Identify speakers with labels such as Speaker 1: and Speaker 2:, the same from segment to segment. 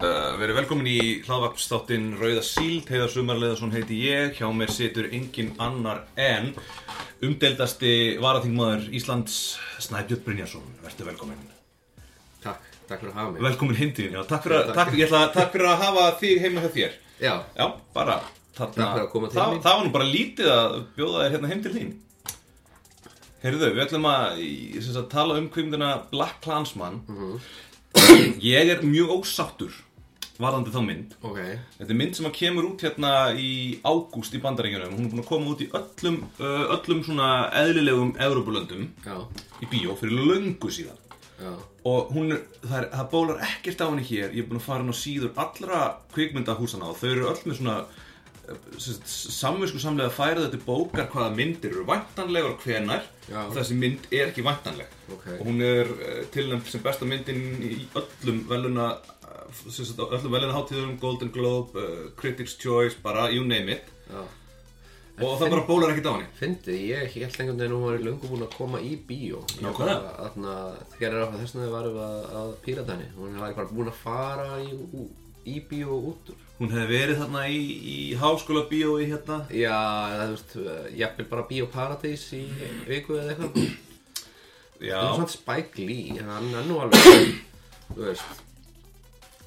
Speaker 1: Eh, verið velkomin í hlaðvarpstáttinn Rauða Síld, heiðar sumarleiðarsson heiti ég, hjá mér situr engin annar en umdeldasti varaþingmaður Íslands Snæbjörn Brynjarsson, verður velkomin.
Speaker 2: Takk, takk fyrir að hafa mig
Speaker 1: Velkomin hindin, já, takk fyrir,
Speaker 2: Já,
Speaker 1: að,
Speaker 2: takk.
Speaker 1: takk, ég ætla, að- takk fyrir að hafa þig heima hjá þér.
Speaker 2: Já,
Speaker 1: Já, bara, þarna,
Speaker 2: Takk fyrir að koma til
Speaker 1: það,
Speaker 2: mín.
Speaker 1: það var nú bara lítið að bjóða þér hérna heim til þín. Heyrðu, við ætlum að, ég syns að tala um kvimdina Black Klansman.
Speaker 2: Mhm.
Speaker 1: ég er mjög ósáttur varðandi þá mynd.
Speaker 2: ok
Speaker 1: Þetta er mynd sem að kemur út hérna í ágúst í bandaríkjunum Hún er búin að koma út í öllum, uh, öllum svona eðlilegum Evrópulöndum
Speaker 2: Já,
Speaker 1: í bíó fyrir löngu síðan
Speaker 2: já,
Speaker 1: Og hún er, það, er, það bólar ekkert á henni hér Ég er búin að fara henni á síður allra kvikmyndahúsana og þau eru öll með svona eh, samvinsku samlega að færa þetta til bókar hvaða myndir eru væntanlegar og hvenar
Speaker 2: Já.
Speaker 1: og þessi mynd er ekki væntanleg
Speaker 2: Ok.
Speaker 1: og hún er tilnæmt sem besta myndin í öllum veluna sagt, á öllum veluna hátíðum, Golden Globe uh, Critics Choice, bara you name it
Speaker 2: já
Speaker 1: og það bara bólar ekkert á henni
Speaker 2: Fyndið, ég held einhvern veginn að hún var í löngu búin að koma í bíó Ég
Speaker 1: Nákvæmlega.
Speaker 2: bara, Þarna, þegar er á þess að þið varum að, að pírata henni Hún var bara búin að fara í, ú- í bíó og út úr
Speaker 1: Hún hefði verið þarna í, í háskóla bíói hérna
Speaker 2: Já, það þú veist, eh, jafnvel bara bíó paradís í viku eða eitthvað
Speaker 1: Já,
Speaker 2: Það er svona Spike Lee, hann er nú alveg, þú veist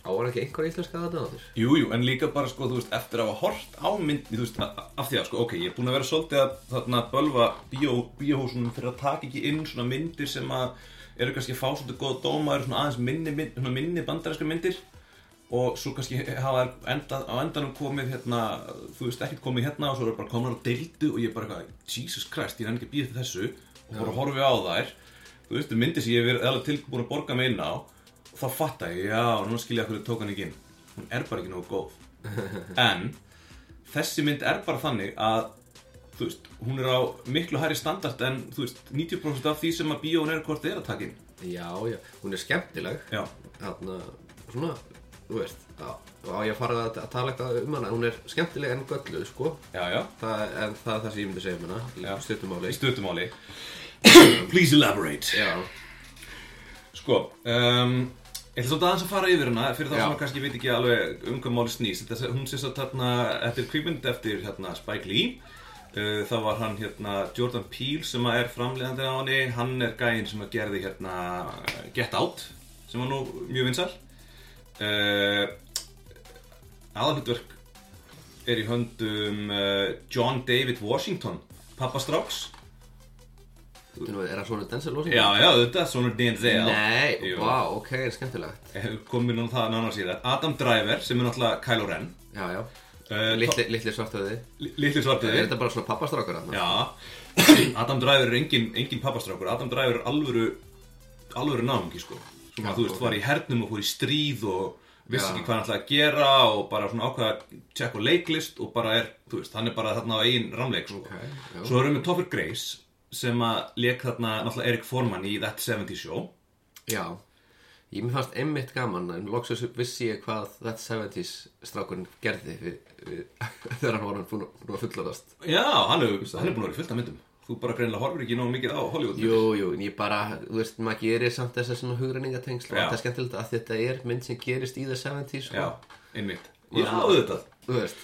Speaker 2: Ávar ekki einhver íslenska þetta áttur?
Speaker 1: Jú, jú, en líka bara sko, þú veist, eftir að hafa hort á mynd, þú veist, a- af því að sko, ok, ég er búin að vera svolítið að þarna bölva bíó, bíóhúsunum fyrir að taka ekki inn svona myndir sem að eru kannski að fá svolítið góða dóma, eru svona aðeins minni, mynd, svona minni bandaræskar myndir og svo kannski hafa þær enda, á endanum komið hérna, þú veist, ekkert komið hérna og svo eru bara komnar á deildu og ég er bara eitthvað, Jesus Christ, ég er ekki að býða þessu og bara horfi á þær, þú veist, myndir sem ég hef verið alveg tilbúin að borga mig inn á og þá fatta ég, já, núna skilja hverju tók hann ekki inn hún er bara ekki nógu góð en þessi mynd er bara þannig að þú veist, hún er á miklu hærri standart en þú veist, 90% af því sem að bíón er hvort þið er að taka inn
Speaker 2: Já, já, hún er skemmtileg
Speaker 1: já,
Speaker 2: þarna, svona, þú veist, á, á ég að fara að, að tala eitthvað um hana, hún er skemmtileg en gölluð, sko,
Speaker 1: já, já,
Speaker 2: það, en það er það sem ég myndi segja um hana,
Speaker 1: Já.
Speaker 2: í stuttumáli.
Speaker 1: í stuttumáli please elaborate
Speaker 2: Já,
Speaker 1: sko, um, ég ætla svolítið aðeins að fara yfir hana fyrir þá
Speaker 2: Já.
Speaker 1: sem að kannski veit ekki alveg um hvað máli snýst þetta, hún sést að þarna, þetta er kvikmynd eftir hérna, Spike Lee uh, það var hann hérna Jordan Peele sem að er framleiðandi á henni hann er gæinn sem að gerði hérna Get Out sem var nú mjög vinsal uh, aðalhutverk er í höndum uh, John David Washington pappastráks
Speaker 2: þú veist, er það svona Denzel Washington?
Speaker 1: já já þetta, sonur Denzel
Speaker 2: Nei,
Speaker 1: Jú.
Speaker 2: vá, ok, skemmtilegt.
Speaker 1: komið Eh, nú það nánar síðan Adam Driver sem er náttúrulega Kylo Ren
Speaker 2: Já, já,
Speaker 1: uh,
Speaker 2: litli, litli svartöði.
Speaker 1: litli
Speaker 2: Er
Speaker 1: svartiði
Speaker 2: þetta bara svona pappastrákar þarna?
Speaker 1: já Adam Driver er engin, engin pappastrákur Adam Driver er alvöru alvöru náungi sko sem
Speaker 2: Já,
Speaker 1: að þú veist
Speaker 2: ok.
Speaker 1: var í hernum og fór í stríð og vissi
Speaker 2: Já.
Speaker 1: ekki hvað hann ætlaði að gera og bara svona ákvaða að tjekka á leiklist og bara er, þú veist, hann er bara þarna á eigin ramleik sko.
Speaker 2: Ok, já.
Speaker 1: svo erum við Topper Grace sem að leik þarna náttúrulega Erik Forman í That 70 Show
Speaker 2: Já. Ég mér fannst einmitt gaman, en loksins vissi ég hvað That 70s strákurinn gerði við, við, þegar hann var hann búin að fullarast.
Speaker 1: já, hann er, hann er búin að vera í fullt af myndum þú bara greinilega horfir ekki nógu mikið á Hollywood
Speaker 2: Jú, jú, en ég bara, þú veist, maður gerir samt þessar svona hugrenningatengsl og
Speaker 1: Já.
Speaker 2: þetta er skemmtilegt að þetta er mynd sem gerist í það 70s sko.
Speaker 1: Já, einmitt
Speaker 2: Já,
Speaker 1: auðvitað
Speaker 2: Þú veist,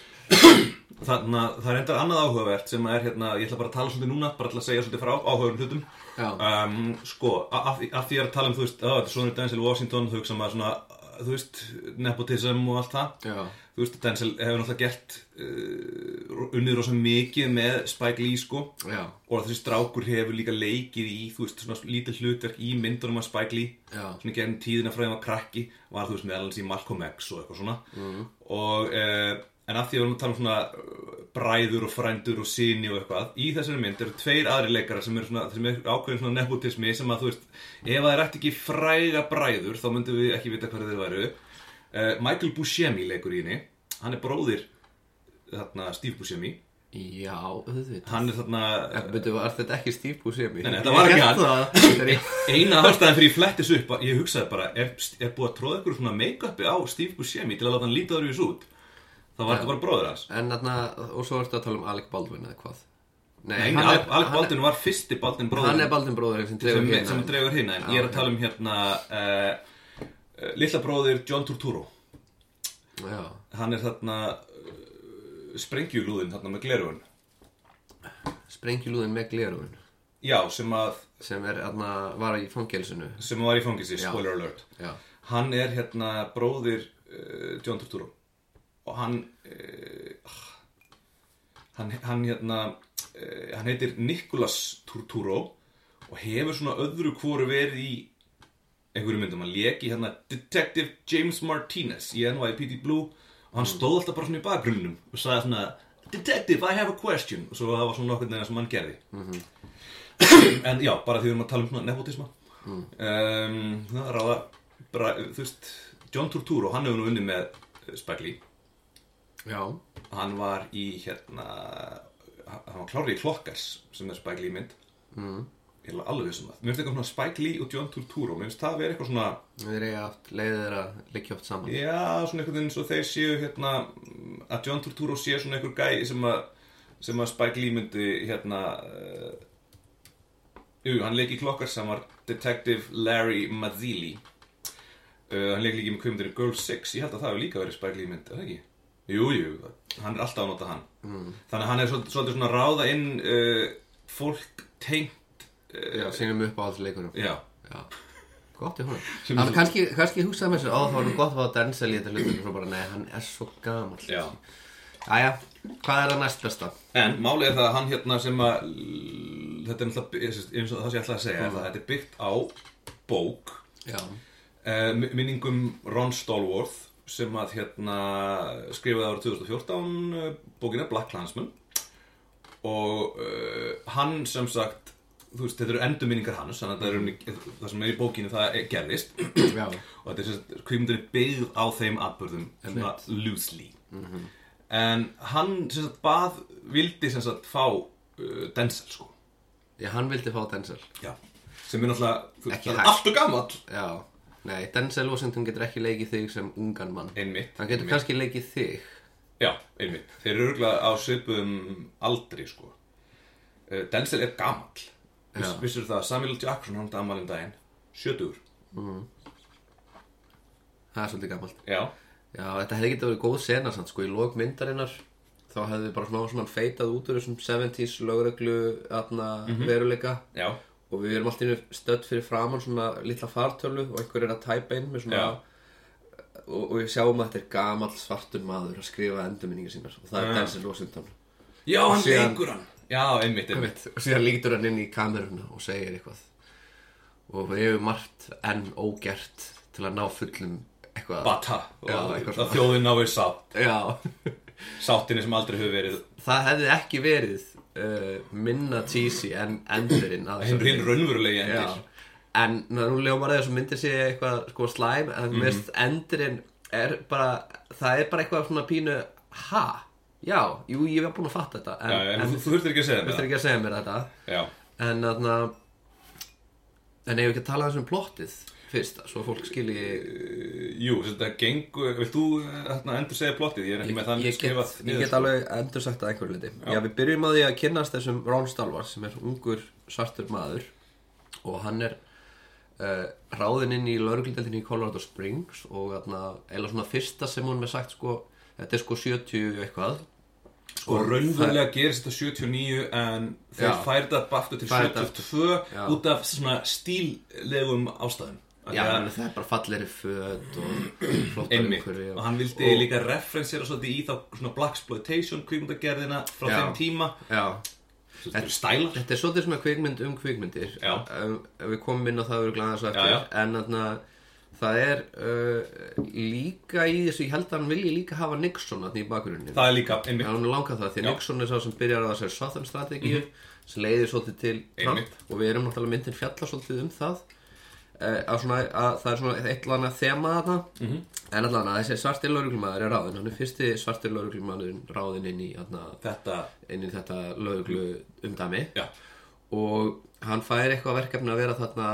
Speaker 1: Þannig að það er endar annað áhugavert sem er hérna, ég ætla bara að tala svolítið núna, bara til að segja svolítið frá áhugaverðum hlutum
Speaker 2: Já.
Speaker 1: um, Sko, a- af því af því ég er að tala um, þú veist, að þetta er sonur Denzel Washington, þú veist, svona, uh, þú veist, nepotism og allt það
Speaker 2: Já.
Speaker 1: Þú veist, Denzel hefur náttúrulega gert, uh, unnið rosa mikið með Spike Lee, sko
Speaker 2: já,
Speaker 1: Og þessi strákur hefur líka leikið í, þú veist, svona lítið hlutverk í myndunum að Spike Lee
Speaker 2: já,
Speaker 1: svona gegnum tíðina frá því að var krakki var þú veist meðal hans í Malcolm X og eitthvað svona og eh, en að því að við erum að tala um svona eh, bræður og frændur og síni og eitthvað í þessari mynd eru tveir aðri leikara sem eru svona, sem eru ákveðin svona nepotismi sem að þú veist, ef það er eftir ekki fræga bræður þá myndum við ekki vita hverju þeir væru eh, Michael Buscemi leikur í henni hann er bróðir þarna Steve Buscemi
Speaker 2: já, auðvitað
Speaker 1: hann er þarna eh,
Speaker 2: En betur, var þetta ekki Steve Buscemi?
Speaker 1: Nei, nei, þetta var ekki hann.
Speaker 2: hann
Speaker 1: Eina ástæðan fyrir ég fletti þessu upp Ég hugsaði bara, er, er búið að tróða ykkur svona make-upi á Steve Buscemi til að láta hann líta þar í þessu út Það var þetta bara bróður hans
Speaker 2: En þarna, og svo ertu að tala um Alec Baldwin eða hvað
Speaker 1: Nei,
Speaker 2: hann
Speaker 1: Alec,
Speaker 2: er-
Speaker 1: Alec
Speaker 2: hann er-
Speaker 1: Baldwin var fyrsti Baldwin bróður
Speaker 2: Hann er Baldwin bróðurinn sem
Speaker 1: sem,
Speaker 2: dregur hérna
Speaker 1: sem dregur hérna eh, En ég er að tala um hérna uh, uh, Lilla bróðir John Turturro
Speaker 2: já,
Speaker 1: hann er þarna uh, sprengjulúðin þarna með glerugun
Speaker 2: sprengjulúðin með glerun
Speaker 1: já, sem að
Speaker 2: sem er, aðna, var í fangelsinu
Speaker 1: sem var í fangilsi,
Speaker 2: Já.
Speaker 1: spoiler alert
Speaker 2: já,
Speaker 1: hann er hérna bróðir uh, John Turturro og hann uh, hann, hann hérna uh, hann heitir Nicholas Turturro og hefur svona öðru hvoru verið í einhverju myndum, hann leki hérna Detective James Martinez í NYPD Blue og hann stóð alltaf bara svona í bakgrunnum og sagði svona Detective, I have a question og svo það var svona nokkurn veginn sem hann gerði en já, bara því við erum að tala um svona nepotisma mm. um, það ráða bara, þú veist, John Turturro hann hefur nú unni með eh, Spike Lee
Speaker 2: já,
Speaker 1: hann var í hérna hann var klárið í Klokkars sem er Spike Lee mynd
Speaker 2: mm.
Speaker 1: ég er alveg sem það, mér finnst eitthvað svona Spike Lee og John Turturro, mér finnst það verið eitthvað svona
Speaker 2: þeir eiga aft leiðið þeirra liggja oft saman
Speaker 1: já, svona einhvern veginn svo þeir séu hérna, að John Turturro sé svona einhver gæi sem að sem að Spike Lee myndi hérna uh, jú, hann leik í Klokkars hann var Detective Larry Mazzilli uh, hann leik líka með kvimdurinn Girl 6, ég held að það hefur líka verið Spike Lee mynd, er það ekki? Jú, jú, hann er alltaf að nota hann mm. þannig að hann er svolítið, svolítið svona að ráða inn uh, fólk tengt uh,
Speaker 2: já, sínum upp á alls leikunum
Speaker 1: já,
Speaker 2: Já, gott í honum
Speaker 1: Sem
Speaker 2: Hann
Speaker 1: þú-
Speaker 2: kannski, kannski hugsaði með þessu Ó, það var nú gott að fá Denzel í þetta hlutur Og svo bara, nei, hann er svo gamall
Speaker 1: já.
Speaker 2: Jæja, hvað er það næst besta?
Speaker 1: En málið er það að hann hérna sem að þetta er náttúrulega ég syns- eins og það sem ég ætla að segja er það að þetta er byggt á bók
Speaker 2: Já,
Speaker 1: eh, mi- minningum Ron Stallworth sem að hérna skrifaði ára 2014 eh, bókina Black Klansman og uh, hann sem sagt þú veist, þetta eru endurminningar hans þannig að þetta eru það sem er í bókinu það er- gerðist
Speaker 2: já,
Speaker 1: og þetta er sem sagt kvikmyndin er byggð á þeim atbörðum svona loosely
Speaker 2: Mhm.
Speaker 1: en hann sem sagt bað vildi sem sagt fá uh, Denzel sko
Speaker 2: já hann vildi fá Denzel
Speaker 1: já. sem er náttúrulega þú-
Speaker 2: Ekki
Speaker 1: það er
Speaker 2: hægt.
Speaker 1: allt og gammalt
Speaker 2: Já, nei, Denzel Washington getur ekki leikið þig sem ungan mann
Speaker 1: einmitt,
Speaker 2: Hann getur
Speaker 1: einmitt.
Speaker 2: kannski leikið þig
Speaker 1: já, einmitt, þeir eru örgulega á svipum aldri sko uh, Denzel er gamall Viss,
Speaker 2: Já.
Speaker 1: vissur það, Samuel L. Jackson hann damalinn daginn, sjötugur
Speaker 2: Það er svolítið gamalt
Speaker 1: já,
Speaker 2: Já, þetta hefði getið verið góð sena samt, sko, í lok myndarinnar þá hefði við bara smá svona feitað út úr þessum 70s lögreglu atna,
Speaker 1: Mhm.
Speaker 2: veruleika
Speaker 1: já,
Speaker 2: og við erum alltaf innu stödd fyrir framann svona litla fartölu og einhver er að tæpa inn með svona
Speaker 1: Já.
Speaker 2: og, og við sjáum að þetta er gamall svartur maður að skrifa endurminningar sínar og það er
Speaker 1: Já.
Speaker 2: Denzel Washington
Speaker 1: já, hann
Speaker 2: síðan-
Speaker 1: leikur hann já, einmitt, einmitt
Speaker 2: Einmitt. og síðan lítur hann inn í kameruna og segir eitthvað og við hefum margt enn ógert til að ná fullum eitthvað
Speaker 1: Bata,
Speaker 2: Já,
Speaker 1: og
Speaker 2: eitthvað
Speaker 1: að
Speaker 2: svona.
Speaker 1: þjóðin náir sátt
Speaker 2: Já,
Speaker 1: sáttinni sem aldrei hefur verið
Speaker 2: það hefði ekki verið uh, minna cheesy en endurinn að
Speaker 1: hinn
Speaker 2: þessari
Speaker 1: hinn
Speaker 2: mynd.
Speaker 1: raunverulegi
Speaker 2: Já,
Speaker 1: endir
Speaker 2: en ná, nú ljómar þess að myndir sé eitthvað sko slæm en mm
Speaker 1: Mhm.
Speaker 2: veist endurinn er bara það er bara eitthvað svona pínu ha, já, jú ég var búin að fatta þetta en,
Speaker 1: Já, já, en
Speaker 2: en
Speaker 1: þú, þú þurftir ekki að segja
Speaker 2: þú
Speaker 1: mér
Speaker 2: þurftir ekki að segja mér þetta
Speaker 1: það Já,
Speaker 2: en þarna en eigum við ekki að tala aðeins um plottið fyrst, svo fólk skilji
Speaker 1: jú, sem þetta gengur Vilt þú hérna, endur segja plottið? Ég er ekki með þann
Speaker 2: ég get,
Speaker 1: skrifað
Speaker 2: ég
Speaker 1: niður,
Speaker 2: get
Speaker 1: sko.
Speaker 2: alveg endur sagt að einhverju liti já. við byrjum að því að kynnast þessum Ron Stalvars sem er ungur svartur maður og hann er uh, ráðinn inn í lauruglindeldinni í Colorado Springs og þarna, eða svona fyrsta sem hún með sagt sko, þetta er sko 70 eitthvað
Speaker 1: Sko, raunverulega gerist þetta 79 en þeir
Speaker 2: Já.
Speaker 1: færða bara aftur til
Speaker 2: Færa þetta
Speaker 1: 72
Speaker 2: Já.
Speaker 1: út af svona stíllegum ástæðum Af því
Speaker 2: Já,
Speaker 1: að-
Speaker 2: en það er bara fallegri föt og flottar
Speaker 1: Einmitt,
Speaker 2: umhverfi
Speaker 1: og hann vildi líka referensera svolítið í þá svona Blaxploitation kvíkmyndagerðina frá
Speaker 2: Já.
Speaker 1: þeim tíma
Speaker 2: Já,
Speaker 1: Svo þetta eru Stælar
Speaker 2: Þetta er svolítið svona kvikmynd um kvikmyndir
Speaker 1: Já.
Speaker 2: um, Við komum inn á það við glæðum svo eftir
Speaker 1: Já, já.
Speaker 2: En þarna, það er uh, líka í þessu Ég held að hann vilji líka hafa Nixon þarna í bakgrunni
Speaker 1: Það er líka, einmitt,
Speaker 2: Já, hann langar það, því
Speaker 1: Já. Mhm.
Speaker 2: Nixon er sá sem byrjar á þessari Southern strategíu sem leiðir svolítið til Trump
Speaker 1: Einmitt.
Speaker 2: og við erum náttúrulega myndin fjalla svolítið um það uh, að svona, að það er svona eitt eller annað þema þarna
Speaker 1: Mhm.
Speaker 2: -hmm. en allan að þessi svarti lauruglumæður er ráðinn hann er fyrsti svarti lauruglumæður ráðinn inn í, þarna,
Speaker 1: þetta
Speaker 2: inn í þetta lauruglu umdæmi
Speaker 1: Já,
Speaker 2: og hann fær eitthvað verkefni að vera þarna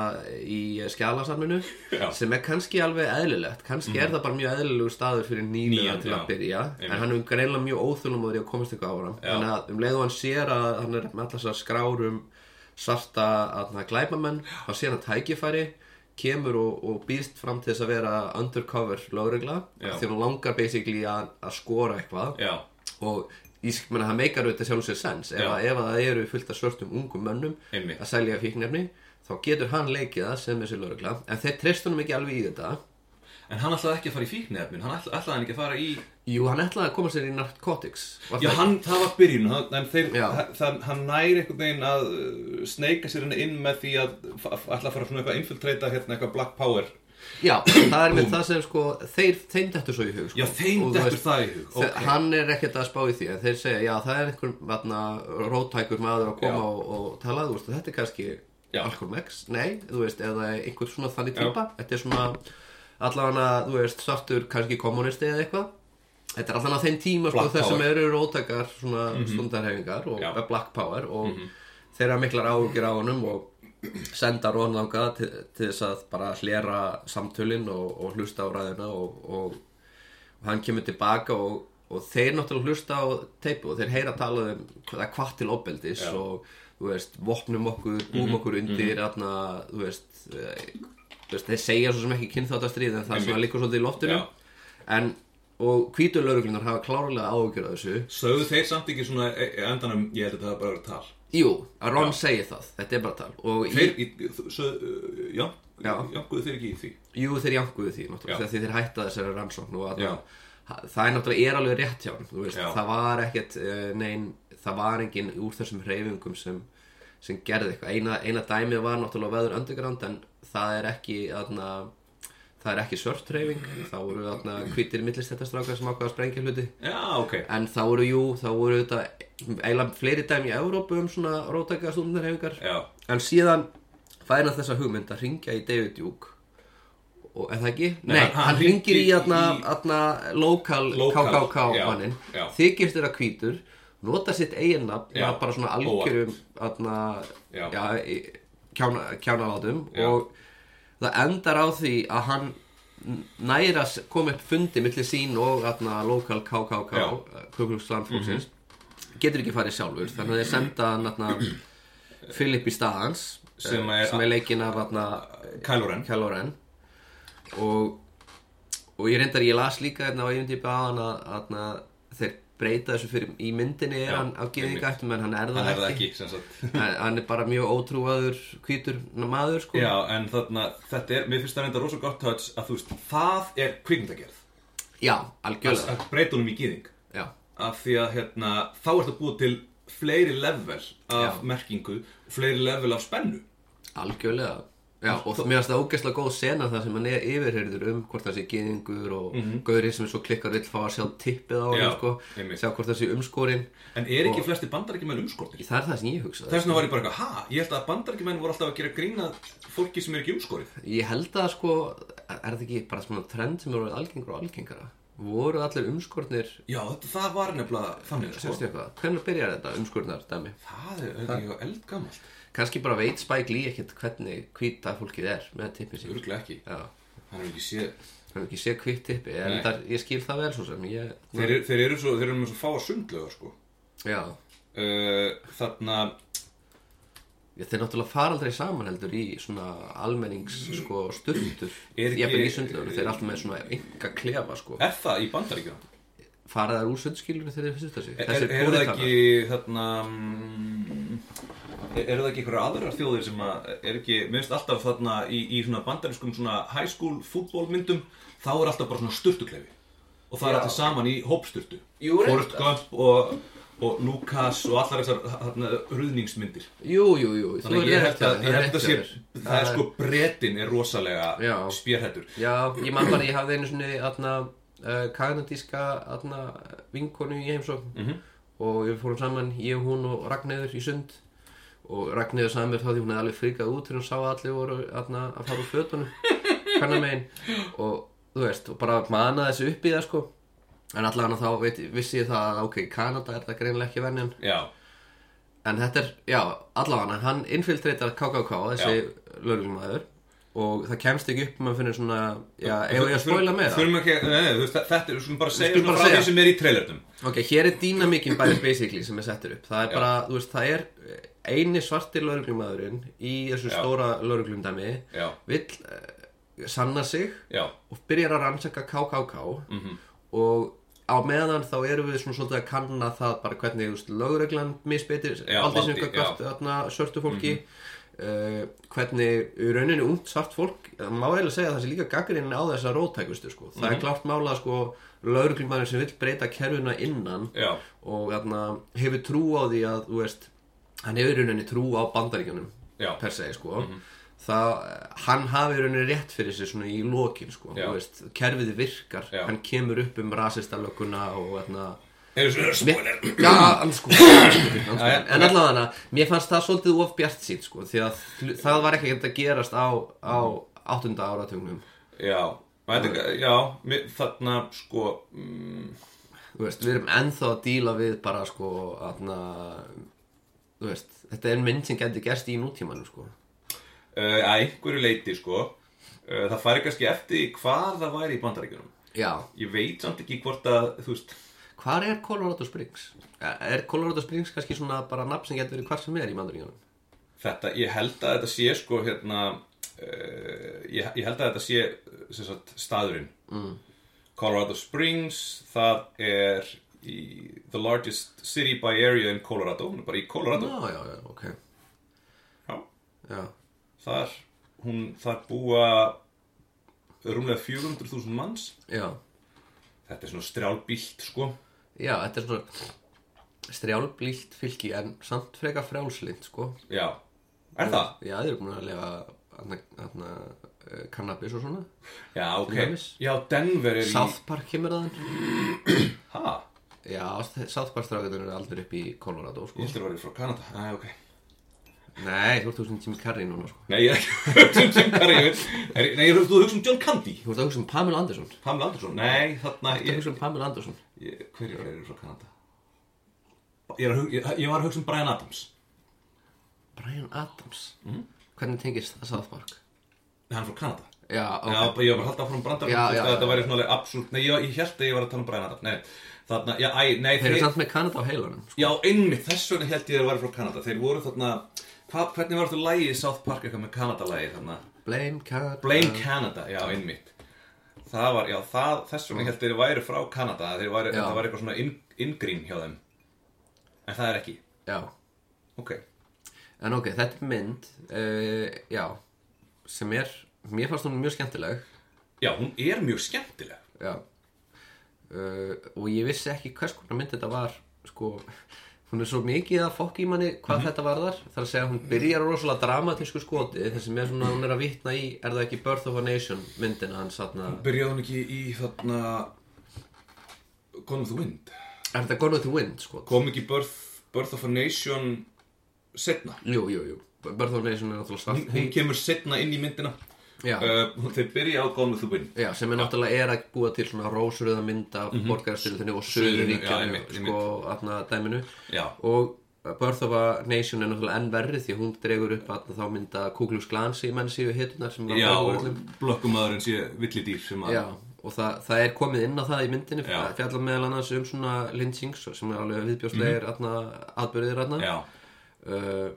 Speaker 2: í skjálasaminu
Speaker 1: Já.
Speaker 2: sem er kannski alveg eðlilegt kannski er það bara mjög eðlilegur staður fyrir nýlega
Speaker 1: Nýjan,
Speaker 2: til að
Speaker 1: já.
Speaker 2: byrja
Speaker 1: Einmitt.
Speaker 2: en hann er greinlega mjög óþölumóður í að komast eitthvað áram
Speaker 1: Já.
Speaker 2: þannig að um leið og hann sér að hann er með allar þessar skrár um svarta þarna, glæpamenn þá sér hann tækifæri kemur og, og býðst fram til þess að vera undercover lögregla
Speaker 1: Já.
Speaker 2: af því hún langar basically að, að skora eitthvað
Speaker 1: já,
Speaker 2: og ég menna það meikar auðvitað sjálfum sér sens ef,
Speaker 1: Já.
Speaker 2: að, ef að það eru fullt af svörtum ungum mönnum
Speaker 1: Einmitt.
Speaker 2: að selja fíknefni þá getur hann leikið það sem þessi lögregla en þeir treystunum ekki alveg í þetta
Speaker 1: en hann ætlaði ekki að fara í fíknefnin hann ætlaði, ætlaði hann ekki að fara í
Speaker 2: Jú, hann ætlaði að koma sér í narkotics var
Speaker 1: já,
Speaker 2: það
Speaker 1: hann, það var byrjun hann, en þeir,
Speaker 2: Já.
Speaker 1: það, hann næri einhvern veginn að uh, sneika sér hann inn með því að f- ætla að fara svona eitthvað infiltreita hérna eitthvað black power
Speaker 2: Já, það er með það sem sko þeir, þeim dettur svo í hug sko.
Speaker 1: já, þeim
Speaker 2: Og þú
Speaker 1: dettur
Speaker 2: veist,
Speaker 1: það í hug
Speaker 2: þe- Hann er ekkert að spá í því en þeir segja, já það er einhver vatna, róttækur maður
Speaker 1: Já.
Speaker 2: að koma og, og tala þú veist, þetta er kannski
Speaker 1: Já.
Speaker 2: Alkormex, nei, þú veist, eða einhver svona þannig
Speaker 1: Já.
Speaker 2: típa, þetta er svona allavega, þú veist, svartur kannski kommunisti eða eitthvað Þetta er allavega þeim tíma sko,
Speaker 1: Black
Speaker 2: þess sem
Speaker 1: power.
Speaker 2: eru róttækar svona stundarhefingar
Speaker 1: Mhm.
Speaker 2: og
Speaker 1: Já. Mhm.
Speaker 2: eh, black power og þeirra miklar áhugir á honum og senda rónlanga til, til þess að bara hlera samtölin og, og hlusta á ræðina og, og, og hann kemur tilbaka og, og þeir náttúrulega hlusta á teipu og þeir heyra tala um hvað hvað til opeldis
Speaker 1: Já. Mhm.
Speaker 2: og þú veist, vopnum okkur, búum okkur undir þarna, þú veist, eh, þú veist þeir segja svo sem ekki kynþáttastríð en það sem
Speaker 1: Einmitt.
Speaker 2: að liggur svolítið í loftinu
Speaker 1: Já.
Speaker 2: en, og hvítur lauruglunar hafa klárlega áhugjur af þessu
Speaker 1: sögðu þeir samt ekki svona e- e- endanum, ég held að það var bara verið tal
Speaker 2: Jú, að Ron segir það, þetta er bara tal og í,
Speaker 1: þeir, í, þú- sögðu, uh, já, já.
Speaker 2: Já.
Speaker 1: jánkuðu þeir ekki í því
Speaker 2: jú þeir jankuðu því náttúrulega
Speaker 1: Já.
Speaker 2: þegar þeir hætta þessari rannsókn og að
Speaker 1: Já.
Speaker 2: það er náttúrulega er alveg rétt hjá hann þú veist,
Speaker 1: Já.
Speaker 2: það var ekkert uh, nein, það var engin úr þessum hreyfingum sem, sem gerði eitthvað eina, eina dæmið var náttúrulega veður underground en það er ekki aðna, það er ekki svört hreyfing þá voru aðna, hvítir millistættastrákar sem ákvaða að sprengja hluti
Speaker 1: já, ok,
Speaker 2: En þá voru, jú, þá voru þetta eiginlega fleiri dæmi í Evrópu um svona rótækja stundarhefingar
Speaker 1: já
Speaker 2: En síðan fær hann þessa hugmynd að ringja í David Duke og, Er það ekki? Nei,
Speaker 1: hann-
Speaker 2: hann,
Speaker 1: hann
Speaker 2: ringir í
Speaker 1: hringir
Speaker 2: aðna,
Speaker 1: í-
Speaker 2: aðna lokal
Speaker 1: Lokal,
Speaker 2: KKK
Speaker 1: já,
Speaker 2: mannin
Speaker 1: já.
Speaker 2: Þykist þeirra hvítur Nota sitt eigin nafn
Speaker 1: Já,
Speaker 2: með bara svona algjörum aðna,
Speaker 1: Já.
Speaker 2: já, í- kjána, kjánalátum
Speaker 1: Já.
Speaker 2: Og það endar á því að hann næra kom upp fundi milli sín og aðna, lokal KKK eh,
Speaker 1: Já.
Speaker 2: Kuklustlandfólksins getur ekki farið sjálfur þannig að þeir senda hann aðna, Philip í staðans
Speaker 1: Sem
Speaker 2: eh,
Speaker 1: er-
Speaker 2: sem er leikinn af aðna,
Speaker 1: Kylo Ren
Speaker 2: Kylo Ren og, og ég reyndar ég las líka hérna á einum típa á hann að aðna, þeir breyta þessu fyrir í myndinni er
Speaker 1: Já,
Speaker 2: hann af geðingættum en hann er það
Speaker 1: hann er það
Speaker 2: ekki,
Speaker 1: ekki, sem sagt
Speaker 2: Hann, hann er bara mjög ótrúaður hvítur maður sko
Speaker 1: já, en þarna, þetta er, mér finnst það reynda rosa gott touch að þú veist, það er kvikmyndagerð
Speaker 2: Já,
Speaker 1: að
Speaker 2: algjörlega
Speaker 1: að breyta honum í gýðing
Speaker 2: Já,
Speaker 1: af því að hérna, þá ertu að búa til fleiri level af
Speaker 2: Já.
Speaker 1: merkingu fleiri level af spennu
Speaker 2: algjörlega Já, og mér finnst það ógeðslega góð sena það sem hann er yfirheyrður um hvort það sé geðingur og mm gaurið sem er svo klikkar vill fá að sjá tippið á
Speaker 1: Mhm. Já,
Speaker 2: hann sko,
Speaker 1: einmitt.
Speaker 2: sjá hvort það sé umskorinn
Speaker 1: en er ekki flesti bandarækjumenn umskortir
Speaker 2: Það er það sem ég hugsaði
Speaker 1: þess vegna var ég bara eitthvað, ha, ég held að bandarækjumenn voru alltaf að gera grína fólki sem er ekki umskorið
Speaker 2: Ég held að sko, er það ekki bara svona trend sem eru algengur og algengara? Voru allir umskornir,
Speaker 1: já, þetta, það var nefnilega þannig sko.
Speaker 2: sérstu eitthvað, hvernig byrjar þetta umskornar dæmi?
Speaker 1: það er auðvitað eitthvað eldgamalt
Speaker 2: Kanski bara veit Spike Lee ekkert hvernig hvíta fólkið er með tippið sín.
Speaker 1: örglega ekki,
Speaker 2: Já,
Speaker 1: hann er ekki séð
Speaker 2: hann hefur ekki séð hvitt tippi, en
Speaker 1: Nei.
Speaker 2: þar, ég skil það vel svo sem, ég,
Speaker 1: þeir, eru- þeir eru svo, þeir eru með svo fáa sundlega sko.
Speaker 2: já,
Speaker 1: uh, þarna
Speaker 2: ég, þeir náttúrulega fara aldrei saman heldur í svona almennings, sko, sturtur,
Speaker 1: Er
Speaker 2: ég
Speaker 1: ekki-
Speaker 2: er í sundlöfur, þeir eru alltaf með svona enga klefa, sko,
Speaker 1: er það í bandaríkjunum
Speaker 2: fara þær úr sundskilur þegar þeir fyrst þessi,
Speaker 1: Er, er, er það
Speaker 2: púritanar.
Speaker 1: ekki þarna mm, er, er það ekki einhverja aðrar þjóðir sem að er ekki, minnst alltaf þarna í, í svona bandarískum svona high school fútbolmyndum, þá er alltaf bara svona sturtuklefi og það er
Speaker 2: Já.
Speaker 1: alltaf saman í hópsturtu
Speaker 2: Jú, reyndar.
Speaker 1: Forrest Gump og, og Lucas og allar þessar þarna, hruðningsmyndir
Speaker 2: Jú, jú, jú, þú
Speaker 1: þannig að
Speaker 2: hefur
Speaker 1: ég
Speaker 2: rétt
Speaker 1: held
Speaker 2: hjá
Speaker 1: að,
Speaker 2: þér,
Speaker 1: ég
Speaker 2: það er
Speaker 1: held að
Speaker 2: rétt
Speaker 1: sé,
Speaker 2: hjá þér.
Speaker 1: það er sko bretin er rosalega
Speaker 2: Já.
Speaker 1: spjærhættur
Speaker 2: Já, ég man bara, ég hafði einu svona aðna, uh, kanadíska aðna, vinkonu í heimsókn og við fórum saman, ég, hún og Ragnæður í sund og Ragnæður sagði mér þá því hún hefði alveg frikað út þegar hún sá að allir voru aðna, að fara úr fötunum kannar megin og þú veist, og bara manna þessu upp í það sko en allan þá veit, vissi ég það að ok, í Kanada er það greinilega ekki venjan
Speaker 1: já,
Speaker 2: En þetta er, já, allavega hann infiltreitar KKK, þessi lögumæður og það kemst ekki upp maður finnir svona, já, ef ég að spoila með það
Speaker 1: Þurfum ekki, nei, þú veist, þetta er, við skulum bara segja
Speaker 2: skulum
Speaker 1: svona
Speaker 2: bara
Speaker 1: frá því
Speaker 2: segja.
Speaker 1: sem er í trailernum
Speaker 2: Ok, hér er dýnamíkin bara basically sem er settur upp það er
Speaker 1: Já.
Speaker 2: bara, þú veist, það er eini svarti lauruglumadurinn í þessu
Speaker 1: Já.
Speaker 2: stóra lauruglumdæmi
Speaker 1: Já.
Speaker 2: vill uh, sanna sig
Speaker 1: Já,
Speaker 2: og byrjar að rannsaka KKK
Speaker 1: Mhm.
Speaker 2: -hmm. og á meðan þá erum við svona svolítið að kanna það bara hvernig þú veist, lögreglan misbeitir
Speaker 1: Já, Mhm.
Speaker 2: aldrei sem
Speaker 1: valdi,
Speaker 2: ykkur gott þarna sörtu fólki uh, hvernig í rauninni ungt svart fólk það má eiginlega segja að það sé líka gaggrinni á þessa róttækustu sko. það
Speaker 1: Mhm.
Speaker 2: er klárt mála sko lögreglumæður sem vill breyta kerfuna innan
Speaker 1: já,
Speaker 2: og þarna, hefur trú á því að þú veist, hann hefur í rauninni trú á bandaríkjunum
Speaker 1: Já. Mhm.
Speaker 2: per se sko. það, hann hafi í rauninni rétt fyrir sér svona í lokin sko.
Speaker 1: Já.
Speaker 2: Þú veist, kerfið virkar,
Speaker 1: Já.
Speaker 2: hann kemur upp um rasistalökunna og þarna,
Speaker 1: Eru svona spoiler
Speaker 2: Já, sko, anskútin, anskútin,
Speaker 1: Já, já,
Speaker 2: anskútin. En
Speaker 1: ok.
Speaker 2: allavega, mér fannst það svolítið of bjart sín, sko, því að hlu- það var ekki að gerast á, á áttunda áratugnum,
Speaker 1: Já, maður, já mér- þarna sko mm,
Speaker 2: þú veist, við erum ennþá að díla við bara, sko, aðna, þú veist, þetta er mynd sem getur gerst í nútímanum, sko.
Speaker 1: uh, að einhverju leiti sko uh, það færi kannski eftir því hvað það væri í bandaríkjunum
Speaker 2: Já.
Speaker 1: ég veit samt ekki hvort að þú veist
Speaker 2: Hvar er Colorado Springs? Er Colorado Springs kannski svona bara nafn sem getur verið hvar sem er í mandaríunum?
Speaker 1: þetta, ég held að þetta sé sko hérna uh, ég, ég held að þetta sé uh, sem sagt, staðurinn mm. Colorado Springs það er í the largest city by area in Colorado hún er bara í Colorado
Speaker 2: Já, já, já, ok.
Speaker 1: já.
Speaker 2: Já.
Speaker 1: þar, hún, þar búa rúmlega 400.000 manns
Speaker 2: Já.
Speaker 1: þetta er svona strjálbílt sko
Speaker 2: Já, þetta er svona strjálblílt fylki en samt freka frjálslind, sko.
Speaker 1: já, er það?
Speaker 2: Já, þeir eru búin að lifa eh, kannabis og svona.
Speaker 1: já, ok,
Speaker 2: dæmis.
Speaker 1: já, Denver er
Speaker 2: South Park kemur þaðan.
Speaker 1: í ha,
Speaker 2: Já, South Park strákjöndur eru aldrei upp í Colorado,
Speaker 1: ég
Speaker 2: sko.
Speaker 1: heldur að vera frá Kanada Æ, ok
Speaker 2: Nei, þú ert þú sem Jimmy Carrey núna, sko.
Speaker 1: Nei, ég er ekki að hugsa um Jim Carrey ég veit. Er- Nei, ég er að hugsa um John Candy
Speaker 2: Þú ert að hugsa um Pamela Anderson. Þú
Speaker 1: Pamela Anderson, nei, þarna
Speaker 2: ert að
Speaker 1: ég,
Speaker 2: hugsa um Pamela Anderson.
Speaker 1: ég, Hverjir eru frá Kanada? Ég, er að hug- ég, ég var að hugsa um Brian Adams
Speaker 2: Brian Adams Hvernig tengist það South Park?
Speaker 1: Nei, hann er frá Kanada
Speaker 2: Já, ok
Speaker 1: Já, ég var
Speaker 2: Já,
Speaker 1: bara að halda áfram brandar
Speaker 2: Já, já,
Speaker 1: Þetta
Speaker 2: já.
Speaker 1: væri svona alveg absúlt Nei, ég, ég held að ég var að tala um Brian Adams Nei, þarna, já, æ, nei
Speaker 2: Þeir eru samt með Kanada á heilanum sko.
Speaker 1: Já, einmitt, þess vegna held ég að þeir væri frá Kanada Þeir voru þarna hva, Hvernig var þetta lagið í South Park eitthvað með Kanada-lagið þarna?
Speaker 2: Blame Canada
Speaker 1: Blame Canada, já, einmitt Það var, já, það, þess vegna held þeir væri frá Kanada Þeir væri,
Speaker 2: Já.
Speaker 1: þetta var eitthvað svona inn- inngrín hjá þeim En það er ekki,
Speaker 2: Já,
Speaker 1: ok
Speaker 2: en ok, þetta er mynd uh, Já, sem er Mér fannst hún mjög skemmtileg
Speaker 1: Já, hún er mjög skemmtileg
Speaker 2: Já uh, Og ég vissi ekki hvers konar mynd þetta var Sko Hún er svo mikið að fokki í manni hvað þetta varðar Það er að segja að hún byrjar á rosalega dramatísku skoti Þessi með svona, hún er að vitna í Er það ekki Birth of a Nation myndina hans þarna
Speaker 1: Byrjaði hún ekki í þarna Gone with the Wind
Speaker 2: Er þetta Gone with the Wind sko? skot?
Speaker 1: Kom ekki Birth, Birth of a Nation setna
Speaker 2: Jú, jú, jú, Birth of a Nation er náttúrulega svart
Speaker 1: Hún kemur setna inn í myndina
Speaker 2: Já.
Speaker 1: uh, Þeir byrja á Gone with the Wind
Speaker 2: Já, sem er náttúrulega er að búa til svona rósröða mynda mm -hmm. borgarstyrlutinni og
Speaker 1: Mhm. já,
Speaker 2: söðuríkjanu
Speaker 1: einmitt,
Speaker 2: sko, aðna dæminu
Speaker 1: Já.
Speaker 2: og Birth of a Nation er náttúrulega enn verri því að hún dregur upp aðna þá mynda Kuglúks glansi menn síðu hitunar sem var
Speaker 1: Já,
Speaker 2: á
Speaker 1: og
Speaker 2: öllum
Speaker 1: blökkumadurinn sé villidýr sem að
Speaker 2: Já, og það, það er komið inn á það í myndinni
Speaker 1: Já. Mhm.
Speaker 2: fjallar meðal annars um svona lynchings sem er alveg viðbjóðslegir mm aðbörðir aðna
Speaker 1: Já,
Speaker 2: uh,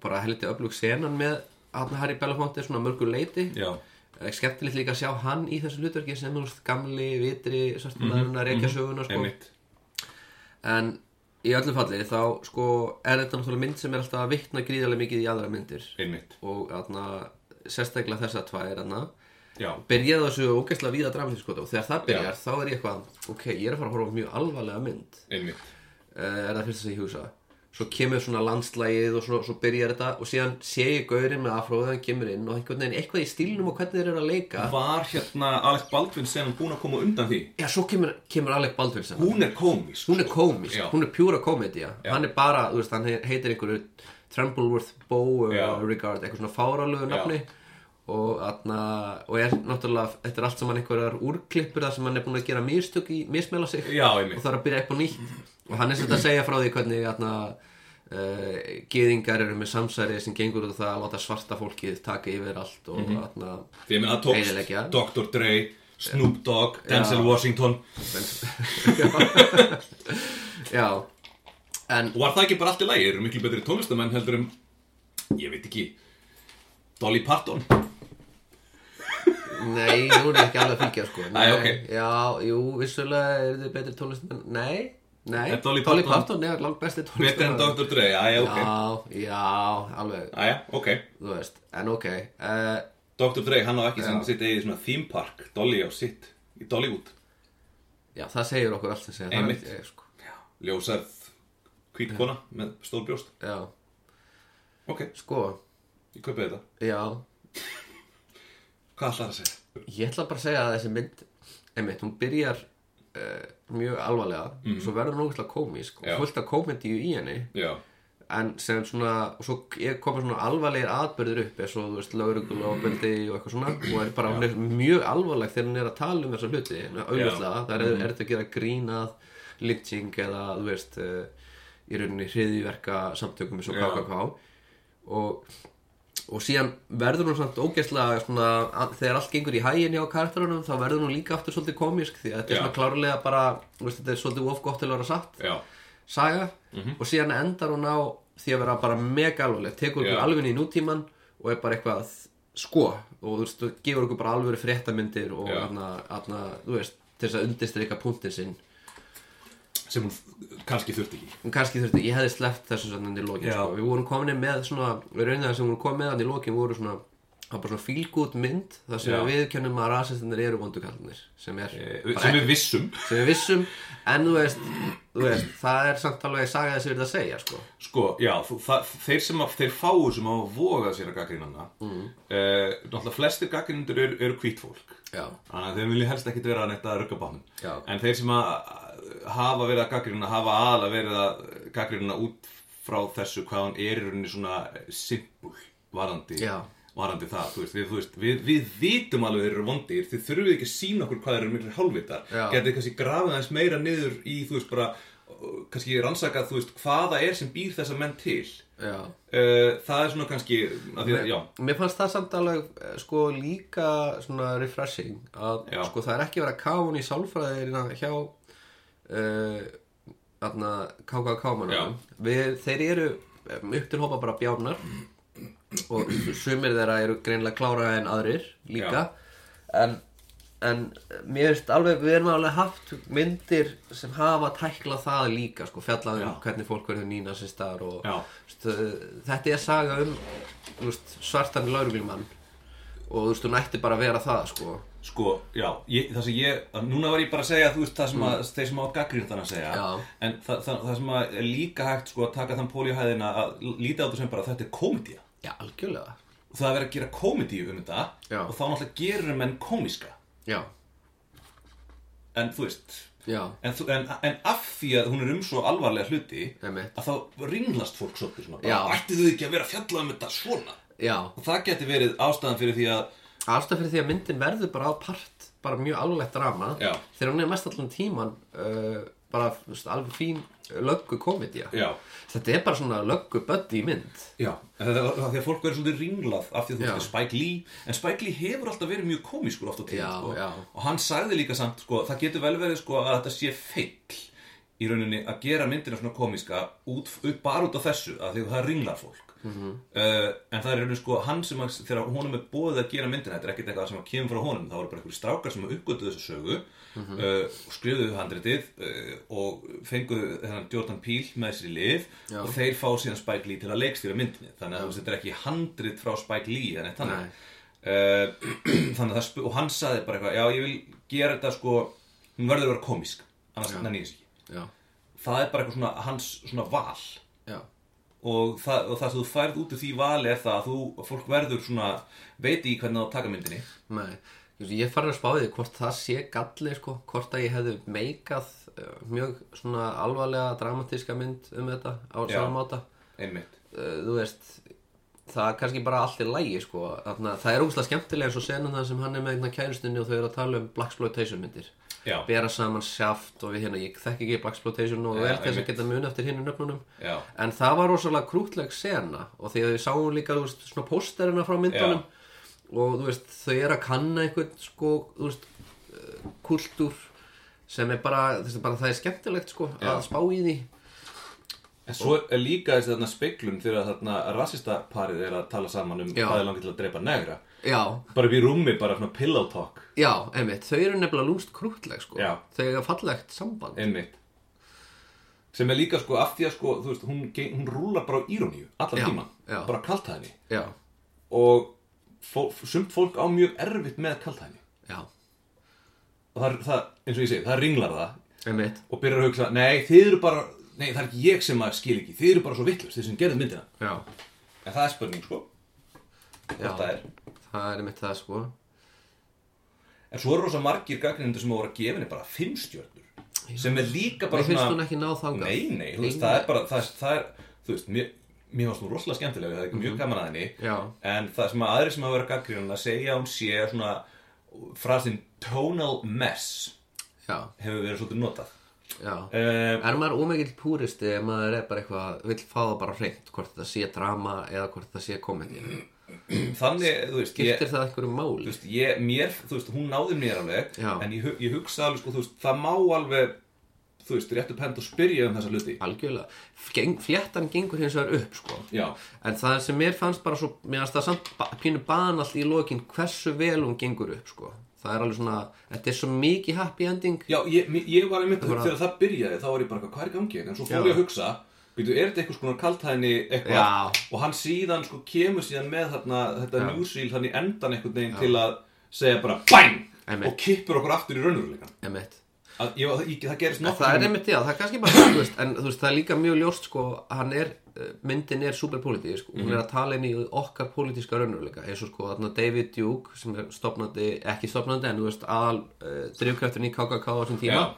Speaker 2: bara heldi öflug senan með aðna Harry Belafonte svona mörgur leiti
Speaker 1: já,
Speaker 2: Það er skemmtilegt líka að sjá hann í þessu hlutverki sem þú veist gamli, vitri, svartmaðurinn að reykja söguna sko.
Speaker 1: einmitt
Speaker 2: En í öllu falli þá sko er þetta náttúrulega mynd sem er alltaf að vikna gríðarlega mikið í aðra myndir
Speaker 1: Einmitt,
Speaker 2: og atna, sérstaklega þessa tvær atna.
Speaker 1: já
Speaker 2: Byrjaði þessu ógeðslega víða dramatískot og þegar það byrjar þá er ég eitthvað ok, ég er að fara að horfa á mjög alvarlega mynd
Speaker 1: Einmitt,
Speaker 2: uh, er það fyrsta sem ég hugsa svo kemur svona landslægið og svo, svo byrjar þetta og síðan sé ég gaurinn með afróðið hann kemur inn og einhvern veginn eitthvað í stílnum og hvernig þeir eru að leika
Speaker 1: Var hérna Alec Baldwin sem búin að koma undan því?
Speaker 2: Já, svo kemur, kemur Alec Baldwin sem
Speaker 1: Hún er komisk
Speaker 2: Hún er komisk,
Speaker 1: Já.
Speaker 2: hún er pjúra komedia Hann er bara, þú veist, hann he- heitir einhverju Trumbleworth Bow
Speaker 1: Já.
Speaker 2: Regard Eitthvað svona fáralögu nafni og, atna, og er náttúrulega Þetta er allt saman einhverjar úrklippur þar sem hann er búin að gera mistök í, mismela sig
Speaker 1: Já, einmitt.
Speaker 2: Og það er að byrja upp á nýtt Og hann er svolítið að segja frá því hvernig atna, Uh, geðingar eru með samsæri sem gengur út af það að láta svarta fólkið taka yfir allt og
Speaker 1: Mhm.
Speaker 2: mm
Speaker 1: Því að minna að tókst
Speaker 2: Eyðileggja.
Speaker 1: Dr. Dre, Snoop Dogg, Denzel Washington
Speaker 2: Já en
Speaker 1: Og var það ekki bara allt í lagi, eru miklu betri tónlistamenn heldur um, ég veit ekki, Dolly Parton
Speaker 2: Nei, hún er ekki alveg að fylgja sko
Speaker 1: Nei, ok.
Speaker 2: Já, jú, vissulega er þið betri tónlistamenn Nei, nei
Speaker 1: Er Dolly
Speaker 2: Dolly
Speaker 1: Parton-
Speaker 2: Parton er langt besti tónlistamenn
Speaker 1: Betri en Dr. Dre, aðja, ok
Speaker 2: Já, já, alveg,
Speaker 1: Aðja, ok
Speaker 2: þú veist En ok, uh,
Speaker 1: Dr. Dre, hann á ekki sem sitt eigið svona theme park, Dolly á sitt, í Dollywood
Speaker 2: já, það segir okkur allt sem segja
Speaker 1: Einmitt.
Speaker 2: Það er, sko,
Speaker 1: Ljósarð, hvít kona með stór brjóst
Speaker 2: já,
Speaker 1: Ok,
Speaker 2: sko,
Speaker 1: ég kaupið þetta
Speaker 2: já
Speaker 1: Hvað ætlar að segja?
Speaker 2: Ég ætla bara að segja að þessi mynd Einmitt, hún byrjar uh, mjög alvarlega Svo verður hún ógeðslega komisk
Speaker 1: Mhm. Já.
Speaker 2: Og fullt af komedíu í henni
Speaker 1: Já,
Speaker 2: en sem svona og svo er- koma svona alvarlegir atbyrður upp eins og þú veist laurugul og beldi og eitthvað svona og er bara, hún er mjög alvarleg þegar hún er að tala um þessa hluti auðvitað, það er,
Speaker 1: Mm.
Speaker 2: er þetta að gera grínað lynching eða þú veist uh, í rauninni hriðiverka samtökum eins og
Speaker 1: Já.
Speaker 2: KKK og, og síðan verður hún samt ógeðslega svona, að, þegar allt gengur í hæginni á karakterunum þá verður hún líka aftur svolítið komisk því að þetta
Speaker 1: Já.
Speaker 2: er svona klárlega bara þú veist, þetta er svolítið of gott til að vera satt
Speaker 1: já,
Speaker 2: saga
Speaker 1: Mhm.
Speaker 2: og síðan endar hún á því að vera bara mega alvarleg tekur
Speaker 1: Já.
Speaker 2: okkur alveg inn í nútíman og er bara eitthvað sko og þú veist, þú gefur okkur bara alveg fréttamyndir og
Speaker 1: Já.
Speaker 2: aðna, aðna, þú veist, til þess að undirstrika punktin sinn
Speaker 1: sem hún f- kannski þurfti ekki
Speaker 2: og kannski þurfti, ég hefði sleppt þessu sannan í lokin
Speaker 1: Já.
Speaker 2: sko. við vorum komin með svona við raunir það sem vorum komin með hann í lokin voru svona það var bara svona fílgút mynd þar sem
Speaker 1: Já.
Speaker 2: við kennum að rasistinir eru vondukallinir sem er
Speaker 1: Eh,
Speaker 2: bara
Speaker 1: Sem við vissum
Speaker 2: sem við vissum en þú veist, þú veist það er samt alveg saga þessi verið að segja sko.
Speaker 1: Sko, já, þú- það, þeir sem að, þeir fáu sem hafa vogað sér að gaggrina hana mm. Náttúrulega flestir gaggrinundur eru, eru hvít fólk
Speaker 2: já,
Speaker 1: Þannig að þeir vilja helst ekkit vera neitt að rugga
Speaker 2: Já.
Speaker 1: bátnum En þeir sem að hafa verið að gaggrina hafa aðalega verið að gaggrina út frá þessu hvað hann er í rauninni svona simpul varandi,
Speaker 2: Já.
Speaker 1: varandi það þú veist, við, þú veist, við, við vitum alveg þeir eru vondir þið þurfið ekki að sína okkur hvað þeir eru miklir hálfvitar
Speaker 2: Já.
Speaker 1: getið kannski grafið aðeins meira niður í þú veist bara kannski rannsakað þú veist hvaða er sem býr þessa menn til
Speaker 2: já
Speaker 1: uh, það er svona kannski að því að, já,
Speaker 2: Mér fannst það samt alveg eh, sko líka svona refreshing að
Speaker 1: Já.
Speaker 2: sko það er ekki verið að kafa hún í sálfræðina hjá uh, aðna KKK mannum Við, þeir eru eh, upp til hópa bara bjánar og sumir þeirra eru greinlega klára en aðrir líka en, en mér finnst alveg við erum alveg haft myndir sem hafa tæklað það líka sko fjallaði um
Speaker 1: Já.
Speaker 2: hvernig fólk verður nýnasistar og
Speaker 1: Já.
Speaker 2: Þú veist, eh, þetta er saga um þú veist, svartan laurugljumann og þú veist, hún ætti bara að vera það sko.
Speaker 1: Sko, já, ég, það sem ég, að núna var ég bara að segja, þú veist, það sem að, þeir sem á gaggrinn þannig að segja,
Speaker 2: Mm. Já.
Speaker 1: en það, það, það sem að er líka hægt, sko, að taka þann pól í hæðina að líta á þetta sem bara, þetta er komedía.
Speaker 2: já, algjörlega
Speaker 1: Og það er verið að gera komedíu um þetta,
Speaker 2: Já.
Speaker 1: og þá náttúrulega gerir menn komiska.
Speaker 2: já,
Speaker 1: En þú veist,
Speaker 2: já,
Speaker 1: en, þú- en, en af því að hún er um svo alvarlega hluti,
Speaker 2: Einmitt.
Speaker 1: að þá ringlast fólk svolítið svona,
Speaker 2: Já.
Speaker 1: bara, ætti þau ekki að vera að fjalla um þetta svona?
Speaker 2: já
Speaker 1: Og það geti verið ástæðan fyrir því að,
Speaker 2: alltaf fyrir því að myndin verður bara á part bara mjög alveglegt drama
Speaker 1: Já.
Speaker 2: þegar hún er mest allan tíman uh, bara þú veist, alveg fín löggu komedía
Speaker 1: já,
Speaker 2: þetta er bara svona löggu buddy mynd
Speaker 1: Já, en það það- því að fólk verður svolítið ringlað af því að þú
Speaker 2: Já.
Speaker 1: veist að Spike Lee en Spike Lee hefur alltaf verið mjög komískur oft á tíma
Speaker 2: Já,
Speaker 1: sko.
Speaker 2: já.
Speaker 1: og hann sagði líka samt sko, það getur vel verið sko, að þetta sé feill í rauninni að gera myndina svona komíska út, út, bara út af þessu að því að það ringlar fólk
Speaker 2: Mhm.
Speaker 1: -hmm. uh, en það er í rauninni sko hann sem að, þegar honum er bóðið að gera myndina þetta er ekkert eitthvað sem að kemur frá honum það voru bara einhverjir strákar sem uppgönduðu þessu sögu mm
Speaker 2: Mhm.
Speaker 1: -hmm. uh, skrifuðu handritið uh, og fenguðu þennan Jordan Peele með sér í lið
Speaker 2: Já.
Speaker 1: og þeir fá síðan Spike Lee til að leikstýra myndinni þannig að þú veist, þetta er ekki handrit frá Spike Lee en eitt
Speaker 2: Nei.
Speaker 1: þannig Eh, þannig að það sp- og hann saði bara eitthvað já ég vil gera þetta sko hún verður að vera komisk annars nenni ég þess ekki
Speaker 2: já,
Speaker 1: það er bara eitthvað svona hans svona val
Speaker 2: já,
Speaker 1: og það, og það sem þú færð út úr því vali er það að þú, að fólk verður svona veit ekki hvernig það á að taka myndinni
Speaker 2: Nei, Þú veist, ég farin að spá því hvort það sé galli sko, hvort að ég hefði meikað uh, mjög svona alvarlega dramatíska mynd um þetta á
Speaker 1: Já.
Speaker 2: samáta
Speaker 1: einmitt
Speaker 2: uh, þú veist það er kannski bara allt í lægi sko. Þarna, það er ógustlega skemmtilega eins og senum það sem hann er með einna kærustinni og þau eru að tala um Blaxploitation myndir
Speaker 1: já,
Speaker 2: bera saman sjáft og við hérna ég þekki ekki Blaxploitation og
Speaker 1: Já,
Speaker 2: vel þess að
Speaker 1: einmitt.
Speaker 2: geta muni eftir hinn nöfnunum
Speaker 1: já,
Speaker 2: En það var rosalega krútleg sena og því að við sáum líka þú veist, svona pósterina frá myndunum og þú veist, þau eru að kanna einhvern sko, þú veist, eh, kultúr sem er bara, þú veist, bara það er skemmtilegt sko, að spá í því
Speaker 1: En svo er líka þessi þarna speklun þegar þarna rasista parið er að tala saman um
Speaker 2: Já.
Speaker 1: hvað er langið til að drepa negra.
Speaker 2: Já,
Speaker 1: Bara við rúmi, bara svona pillow talk,
Speaker 2: já, einmitt, þau eru nefnilega lúmst krútleg sko
Speaker 1: Já.
Speaker 2: Þau eru fallegt samband
Speaker 1: einmitt. Sem er líka sko, af því að sko, þú veist, hún, geng- hún rúlar bara á íróníu, allan
Speaker 2: Já,
Speaker 1: tíman,
Speaker 2: já.
Speaker 1: bara kaltæðinni.
Speaker 2: Já,
Speaker 1: Og fó, sumt fólk á mjög erfitt með kaltæðinni.
Speaker 2: já,
Speaker 1: Og það, er- það, eins og ég segi, það ringlar það
Speaker 2: einmitt
Speaker 1: og byrjar að hugsa, nei, þið eru bara, nei, það er ekki ég sem að skil ekki, þið eru bara svo vittlust, þið sem gerðu myndina.
Speaker 2: Já,
Speaker 1: En það er spurning, sko. Þetta er.
Speaker 2: það er einmitt það sko
Speaker 1: En svo eru rosa margir gaggrindur sem voru að gefa henni bara fimm stjörnur sem er líka bara
Speaker 2: Mér finnst hún ekki ná þangað
Speaker 1: Nei, nei, þú veist, það er bara það er, það er, þú veist, mér, mér varst nú rosalega skemmtilega það er mjög gaman að henni
Speaker 2: Mhm. Já.
Speaker 1: en það sem að aðri sem hafa verið að gaggrinda segja að hún sé svona frasin tonal mess
Speaker 2: Já,
Speaker 1: hefur verið svolítið notað
Speaker 2: já
Speaker 1: um,
Speaker 2: Er maður ómikið púristi ef maður er bara eitthvað, vill fá það bara hreint, hvort þetta sé drama eða hvort þetta sé komedi?
Speaker 1: Þannig, þú veist, ég
Speaker 2: Giftir það einhverju
Speaker 1: þú
Speaker 2: máli?
Speaker 1: veist, ég, mér, þú veist, hún náði mér alveg
Speaker 2: Já.
Speaker 1: en ég, hu- ég hugsa alveg, sko, þú veist, það má alveg þú veist, réttu pent og spyrja um þessa hluti
Speaker 2: Algjörlega. Geng, fléttan gengur hins vegar upp, sko.
Speaker 1: Já,
Speaker 2: En það sem mér fannst bara svo, mér fannst það samt ba- pínu banallt í lokin hversu vel hún gengur upp, sko. Það er alveg svona, þetta er svo mikið happy ending.
Speaker 1: Já, ég, mér- ég var einmitt
Speaker 2: Bara-
Speaker 1: þegar það byrjaði þá var ég bara eitthvað, hvað er í gangi hérna? En svo fór
Speaker 2: Já.
Speaker 1: ég að hugsa, býtu, er þetta eitthvað skona kaltæðinni eitthvað?
Speaker 2: Já.
Speaker 1: Og hann síðan sko kemur síðan með þarna, þetta njúsíl þannig endan einhvern veginn til að segja bara BANG!
Speaker 2: Einmitt.
Speaker 1: Og kippur okkur aftur í raunveruleikan.
Speaker 2: Emitt.
Speaker 1: Að Ég, ég, það gerist nokkuð.
Speaker 2: Það er einmitt, já, það er kannski bara, þú veist, en þú veist, það er líka mjög ljóst, sko, hann er, eh, myndin er superpolítísk, hún er að tala inn í okkar pólitíska raunveruleika, eins og sko, þarna David Duke, sem er stopnandi, ekki stopnandi, en þú veist, aðal uh, drifkræfturinn í KKK á þessum tíma,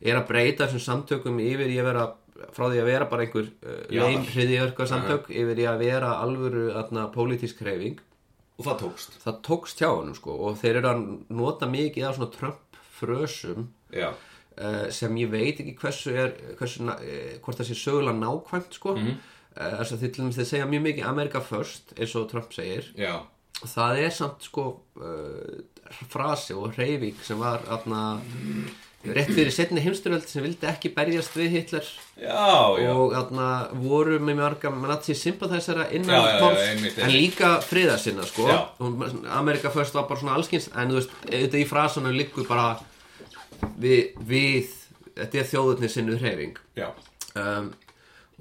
Speaker 2: er að breyta þessum samtökum yfir í að vera, frá því að vera bara einhver uh,
Speaker 1: Já.
Speaker 2: reyn hriðjörka samtök, yfir í að vera alvöru, þarna, pólitísk hreyfing,
Speaker 1: Og það tókst.
Speaker 2: það tókst hjá honum, sko, og þeir eru að nota mikið af svona Trump-frösum,
Speaker 1: Já.
Speaker 2: Eh, sem ég veit ekki hversu er hversu, na- eh, hvort það sé sögulega nákvæmt sko. mm -hmm. þess að þið til dæmis þeir segja mjög mikið America first eins og Trump segir
Speaker 1: Já.
Speaker 2: og það er samt sko uh, frasi og reyfing sem var afna, rétt fyrir setni heimsturöld sem vildi ekki berjast við Hitler
Speaker 1: Já, já.
Speaker 2: og þarna voru með marga nazi sympathæsara innan
Speaker 1: Já, já, já,
Speaker 2: korps,
Speaker 1: einmitt,
Speaker 2: en
Speaker 1: einmitt.
Speaker 2: líka friða sinna sko
Speaker 1: Já.
Speaker 2: Hún- Amerika först var bara svona allskins en þú veist, auðvitað í frasunum liggur bara við, við þetta er þjóðutni sinnu hreyfing
Speaker 1: Já.
Speaker 2: um,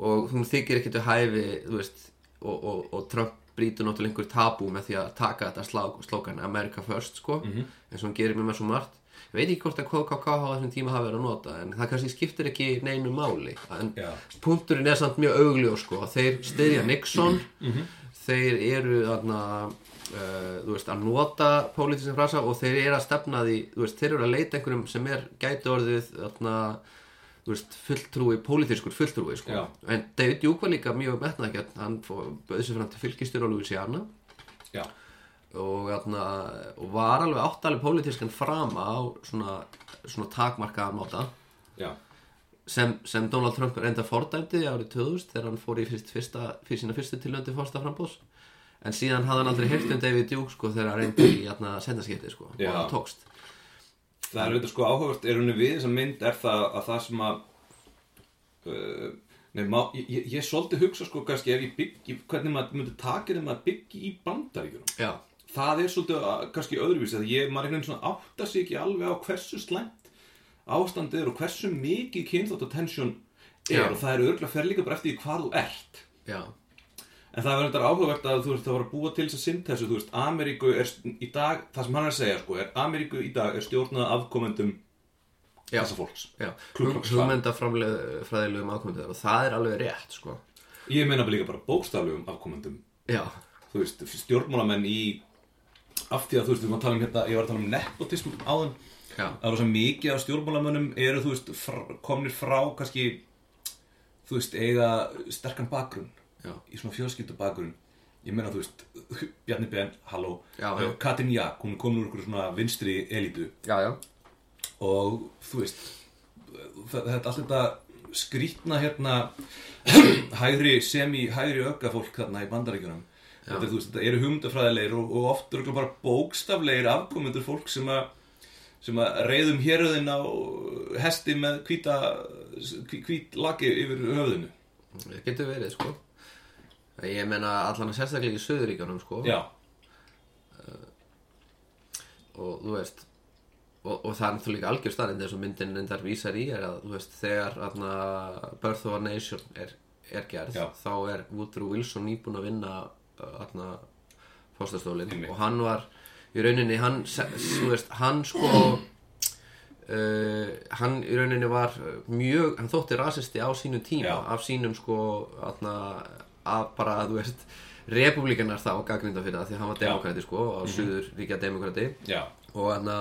Speaker 2: og hún þykir ekkert að hæfi þú veist, og, og, og Trump brýtur náttúrulega einhver tabú með því að taka þetta slag, slogan America First sko,
Speaker 1: Mhm.
Speaker 2: eins og hún gerir með mér svo margt ég veit ekki hvort að KKK á þessum tíma hafi verið að nota en það kannski skiptir ekki neinu máli en
Speaker 1: Já.
Speaker 2: punkturinn er samt mjög augljó sko, þeir styðja Nixon þeir eru þarna Uh, þú veist, að nota pólitísin frasa og þeir eru að stefna því þú veist, þeir eru að leita einhverjum sem er gæti orðið þarna, þú veist, fulltrúi, pólitískur fulltrúi sko.
Speaker 1: Já.
Speaker 2: en David Duke var líka mjög metnaðgjörn hann bauði sér fram til fylgistur á Louisiana
Speaker 1: Já.
Speaker 2: og, þarna, og var alveg áttaleg pólitískan frama á svona, svona takmarkaðan nota
Speaker 1: Já.
Speaker 2: sem, sem Donald Trump reynda fordæmdi árið 2000 þegar hann fór í fyrst, fyrsta, fyrir sína fyrstu tilöndi fórsta frambúðs en síðan hafði hann aldrei heyrt um David Duke sko, þegar hann reyndi í hérna, sendaskipti sko, og
Speaker 1: Já.
Speaker 2: það tókst
Speaker 1: Það er auðvitað sko áhugavert er henni við þessa mynd er það að það sem að uh, Nei, má, ég, ég, ég svolítið hugsa sko kannski ef ég byggi, hvernig maður myndi taka þeim að byggi í bandaríkjunum.
Speaker 2: Já,
Speaker 1: Það er svolítið að, kannski öðruvísi að ég, maður einhvern veginn svona átta sig ekki alveg á hversu slæmt ástandið er og hversu mikið kynþátt er
Speaker 2: Já.
Speaker 1: og það er örgulega fer líka bara eftir því hvar þú ert.
Speaker 2: já,
Speaker 1: En það verður þetta áhugavert að þú veist það var að búa til þess að syntesu, þú veist, Ameríku er st- í dag, það sem hann er að segja sko, er Ameríku í dag er stjórnað afkomendum
Speaker 2: já.
Speaker 1: þessa fólks.
Speaker 2: Já,
Speaker 1: Ku Klux Klan.
Speaker 2: hugmyndafræðilegum afkomendar og það er alveg rétt, sko.
Speaker 1: Ég meina bara líka bara bókstaflegum afkomendum
Speaker 2: Já,
Speaker 1: þú veist, stjórnmálamenn í af því að þú veist, við varum að tala um hérna ég var að tala um nepotism áðan
Speaker 2: Já.
Speaker 1: það er rosa mikið af stjórnmálamennum eru þú veist, fr komnir frá kannski þú veist, eiga sterkan bakgrunn
Speaker 2: Já.
Speaker 1: í svona fjölskyldu bakgrunn ég meina þú veist, Bjarni Ben, halló
Speaker 2: Já, já.
Speaker 1: Eh, Katrín Jak, hún er komin úr einhverju svona vinstri elitu
Speaker 2: já, já.
Speaker 1: og þú veist það- þetta allt þetta skrítna hérna hægri semi hægri öggafólk þarna í bandaríkjunum þetta, er, þú veist, þetta eru hugmyndafræðilegir og, og oft eru bara bókstaflegir afkomendur fólk sem að sem að reyðum héröðin á hesti með hvíta hvít laki yfir höfðinu
Speaker 2: Það getur verið, sko. Ég meina allan að sérstaklega í Suðuríkjunum, sko.
Speaker 1: Já,
Speaker 2: Og þú veist, og, og það er náttúrulega líka algjör staðrind eins og myndin reyndar vísar í er að, þú veist, þegar aðna, Birth of a Nation er, er gerð,
Speaker 1: Já.
Speaker 2: þá er Woodrow Wilson nýbúin að vinna aðna, fóstastólinn
Speaker 1: Einmitt.
Speaker 2: og hann var, í rauninni, hann, se- þú veist, hann sko... Uh, hann í rauninni var uh, mjög, hann þótti rasisti á sínum tíma
Speaker 1: Já.
Speaker 2: af sínum sko atna, af bara, þú veist republikanar þá gagnrinda fyrir það því að hann
Speaker 1: Já.
Speaker 2: var
Speaker 1: Mhm.
Speaker 2: demokrati sko og mm suður ríkja demokrati
Speaker 1: já,
Speaker 2: og, atna,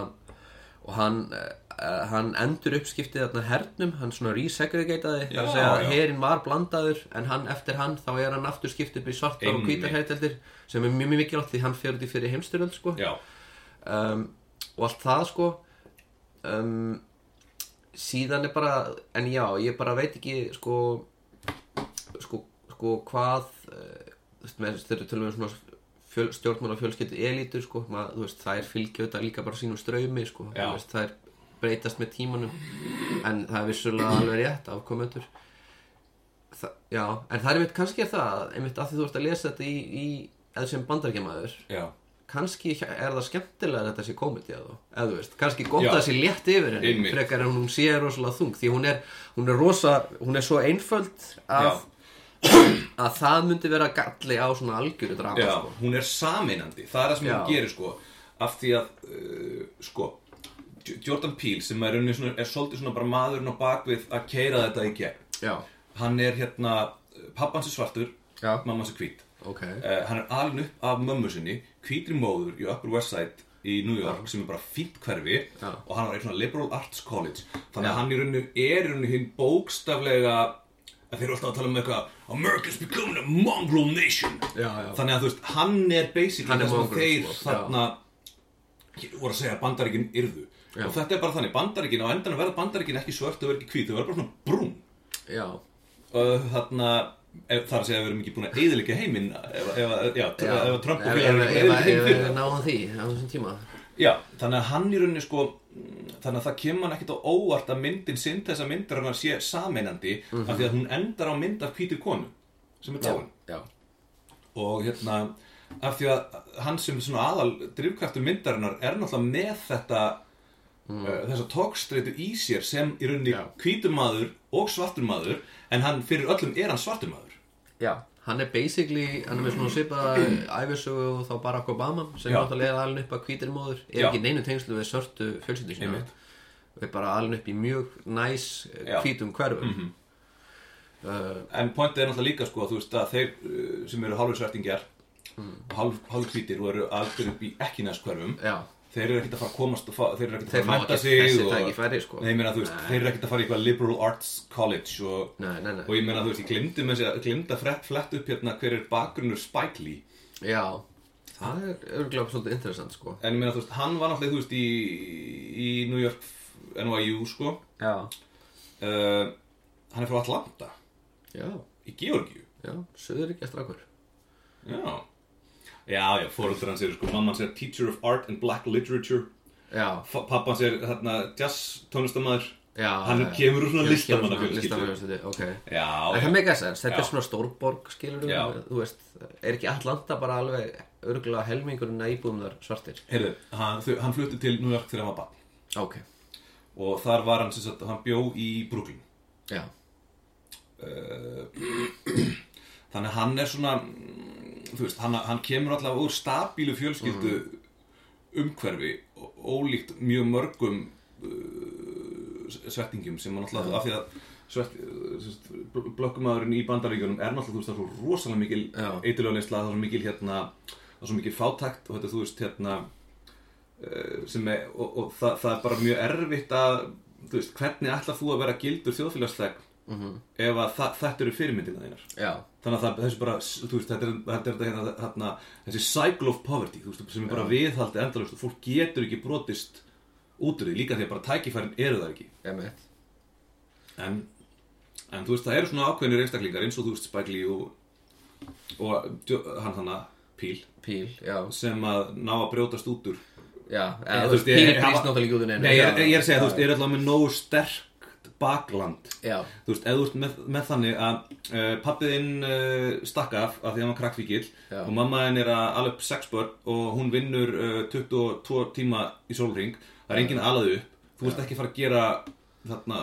Speaker 2: og hann uh, hann endur uppskiptið atna, hernum, hann svona resegregateði
Speaker 1: Já,
Speaker 2: þar að segja að
Speaker 1: já.
Speaker 2: herin var blandaður en hann eftir hann þá er hann aftur skipt upp í svartar og
Speaker 1: Einmitt.
Speaker 2: hvítar herteldir sem er mjög mjög mikilvægt því hann fer út í fyrir heimstyrjöld sko
Speaker 1: já,
Speaker 2: um, og allt það sko um, síðan er bara en já, ég bara veit ekki sko sko, sko hvað eh, þú veist, með- þeir eru tölum við svona fjöl, stjórnmála fjölskyldu elítur sko, maður, þú veist, þær fylgja þetta líka bara sínum ströymi sko,
Speaker 1: Já.
Speaker 2: þú veist, þær breytast með tímanum en það er vissulega alveg rétt afkomendur Þa, já, en það er einmitt, kannski er það einmitt að því þú ert að lesa þetta í, í eða sem bandarkjamaður
Speaker 1: já.
Speaker 2: kannski er það skemmtilega að þetta sé komedi að þú, eða þú veist, kannski gott
Speaker 1: Já.
Speaker 2: að það sé létt yfir henni,
Speaker 1: Einmitt.
Speaker 2: frekar en hún sé rosalega þung, því hún er, hún er rosa, hún er svo einföld að, að það myndi vera galli á svona algjöru drama,
Speaker 1: Já,
Speaker 2: sko.
Speaker 1: hún er saminandi, það er það sem hún
Speaker 2: Já.
Speaker 1: gerir sko af því að, uh, sko J- Jordan Peele sem er, rauninni svona, er svolítið svona bara maðurinn á bakvið að keira þetta í gegn
Speaker 2: Já,
Speaker 1: hann er hérna, pappans er svartur
Speaker 2: Já.
Speaker 1: mammas er hvít
Speaker 2: ok,
Speaker 1: uh, hann er alin upp af mömmu sinni hvítri móður í Upper West Side í New York sem er bara fínt hverfi
Speaker 2: Já.
Speaker 1: og hann var í svona liberal arts college þannig
Speaker 2: Já.
Speaker 1: að hann í rauninu er í rauninu hinn bókstaflega að þeir eru alltaf að tala um eitthvað America's becoming a mongrel nation
Speaker 2: Já, já.
Speaker 1: þannig að þú veist hann er basically
Speaker 2: Hann
Speaker 1: það
Speaker 2: er
Speaker 1: sem
Speaker 2: mongrel,
Speaker 1: þeir
Speaker 2: sko.
Speaker 1: þarna voru að segja að bandaríkin yrðu
Speaker 2: Já.
Speaker 1: og þetta er bara þannig bandaríkin á endan verða bandaríkin ekki svört og verða ekki hvít þau verða bara svona brún
Speaker 2: já,
Speaker 1: og þarna ef, þar að segja að við erum ekki búin að eyðileggja heiminn ef, ef, já, ef,
Speaker 2: já,
Speaker 1: ef Trump og
Speaker 2: ef,
Speaker 1: félagar
Speaker 2: ef,
Speaker 1: eru ekki að
Speaker 2: ef,
Speaker 1: eyðileggja
Speaker 2: ef,
Speaker 1: heiminn fyrir
Speaker 2: ef
Speaker 1: það.
Speaker 2: náðum því á þessum tíma,
Speaker 1: já, þannig að hann í rauninni sko mm, þannig að það kemur hann ekkit á óvart að myndin sinn þessa myndir hann sé sameinandi af því að hún endar á mynd af hvítir konu sem er
Speaker 2: Mhm. já,
Speaker 1: dáin
Speaker 2: já,
Speaker 1: og hérna af því að hann sem svona aðal drifkraftur myndarinnar er náttúrulega með þetta mm. uh, þessa tókstreitu í sér sem í rauninni
Speaker 2: Mhm. Já.
Speaker 1: hvítur maður og svartur maður en hann fyrir öllum er hann svartur maður
Speaker 2: já. Hann er basically, hann er með svona svipaða æfisögu og þá Barack Obama sem
Speaker 1: Já.
Speaker 2: náttúrulega er alveg upp að hvítir móður er
Speaker 1: Já.
Speaker 2: ekki í neinu tengslu við sörtu fjölskyldu sína
Speaker 1: Einmitt.
Speaker 2: við bara alveg upp í mjög næs
Speaker 1: Já. Mhm.
Speaker 2: eh, hvítum hverfum uh,
Speaker 1: En pointið er náttúrulega líka sko að þú veist að þeir uh, sem eru hálfur svertingjar
Speaker 2: Mm.
Speaker 1: hálf, hálfkvítir og eru aldur upp í ekki næstkverfum
Speaker 2: Já,
Speaker 1: þeir eru ekkert að fara að komast og fa þeir eru ekkert
Speaker 2: Eh. Þeir
Speaker 1: að fara
Speaker 2: fá
Speaker 1: að metta
Speaker 2: ekki
Speaker 1: sig
Speaker 2: þessi
Speaker 1: og,
Speaker 2: tækifæri, sko.
Speaker 1: Nei, ég meina, þú veist, þeir eru ekkert að fara í eitthvað liberal arts college og,
Speaker 2: Nei, nei, nei.
Speaker 1: og ég meina þú veist, ég glimdi með þessi glimda frett flett upp hérna hver er bakgrunnur Spike Lee
Speaker 2: já Það er örgulega svolítið interessant sko
Speaker 1: en ég meina þú veist, hann var náttúrulega þú veist í, í New York NYU sko uh,
Speaker 2: Já,
Speaker 1: hann er frá Atlanta
Speaker 2: já,
Speaker 1: í Georgiu
Speaker 2: já, söðuríkja strákur
Speaker 1: Já, já, já fóröldrar hans eru sko, mamman sér teacher of art and black literature
Speaker 2: Já,
Speaker 1: Fa- Pappan sér þarna hérna, jazz tónlistamæður
Speaker 2: já
Speaker 1: Hann
Speaker 2: já, já.
Speaker 1: kemur úr svona
Speaker 2: Kemur- kemur
Speaker 1: listamanna
Speaker 2: svona
Speaker 1: fjölskyldu.
Speaker 2: listamannafjölskyldu, Ok
Speaker 1: Já,
Speaker 2: En
Speaker 1: já,
Speaker 2: það meika sens, þetta er
Speaker 1: Já.
Speaker 2: svona stórborg skilur
Speaker 1: Já.
Speaker 2: þú veist, er ekki Atlanta bara alveg örgulega helmingurinn að íbúðum þar svartir
Speaker 1: heyrðu, hann, þau- hann flutti til New York þegar hann var barn
Speaker 2: Ok,
Speaker 1: Og þar var hann, sem sagt, hann bjó í Brooklyn
Speaker 2: já,
Speaker 1: Þannig að hann er svona, mm, þú veist, hann, hann kemur allavega úr stabílu fjölskyldu umhverfi ó- Ólíkt mjög mörgum uh, svettingum sem hann alltaf, af því að svett, uh, sem sagt, bl- blökkumaðurinn í bandaríkjunum er náttúrulega, þú veist, það er svo rosalega mikil
Speaker 2: Já.
Speaker 1: eitilögneisla, það er svo mikil, hérna, það er svo mikil fátækt og þetta, þú veist, hérna, eh, sem er, og, og það, það er bara mjög erfitt að, þú veist, hvernig ætlar þú að vera gildur þjóðfélagsþegn ef að þa- þetta eru fyrirmyndina þínar?
Speaker 2: já,
Speaker 1: Þannig að það, þessi bara, þú veist, þetta er, þetta er þetta hérna, hérna, þessi cycle of poverty, þú veist, sem er bara viðhaldið endalaust og fólk getur ekki brotist út úr því, líka því að bara tækifærin eru það ekki.
Speaker 2: emitt
Speaker 1: En, en þú veist, það eru svona ákveðnir einstaklingar eins og þú veist, Spike Lee og, og djó- hann þannig að Píl,
Speaker 2: Píl, já,
Speaker 1: sem að ná að brjótast út úr.
Speaker 2: já,
Speaker 1: Eða, þú
Speaker 2: eða þú veist,
Speaker 1: veist, ég-
Speaker 2: Píl
Speaker 1: ég-
Speaker 2: brýst náttúrulega ekki út úr neinu
Speaker 1: Nei, ég, er- ég er að segja,
Speaker 2: Já,
Speaker 1: þú veist,
Speaker 2: já.
Speaker 1: er allavega með nógu sterk bakland
Speaker 2: Já.
Speaker 1: þú veist, eða þú ert með, með þannig að uh, pappiðinn uh, stakk af af því að hann var krakkfíkil
Speaker 2: Já.
Speaker 1: og mammaðinn er að ala upp sex börn og hún vinnur uh, 22 tíma í sólring það er enginn að alaðu upp þú ert ekki að fara að gera þarna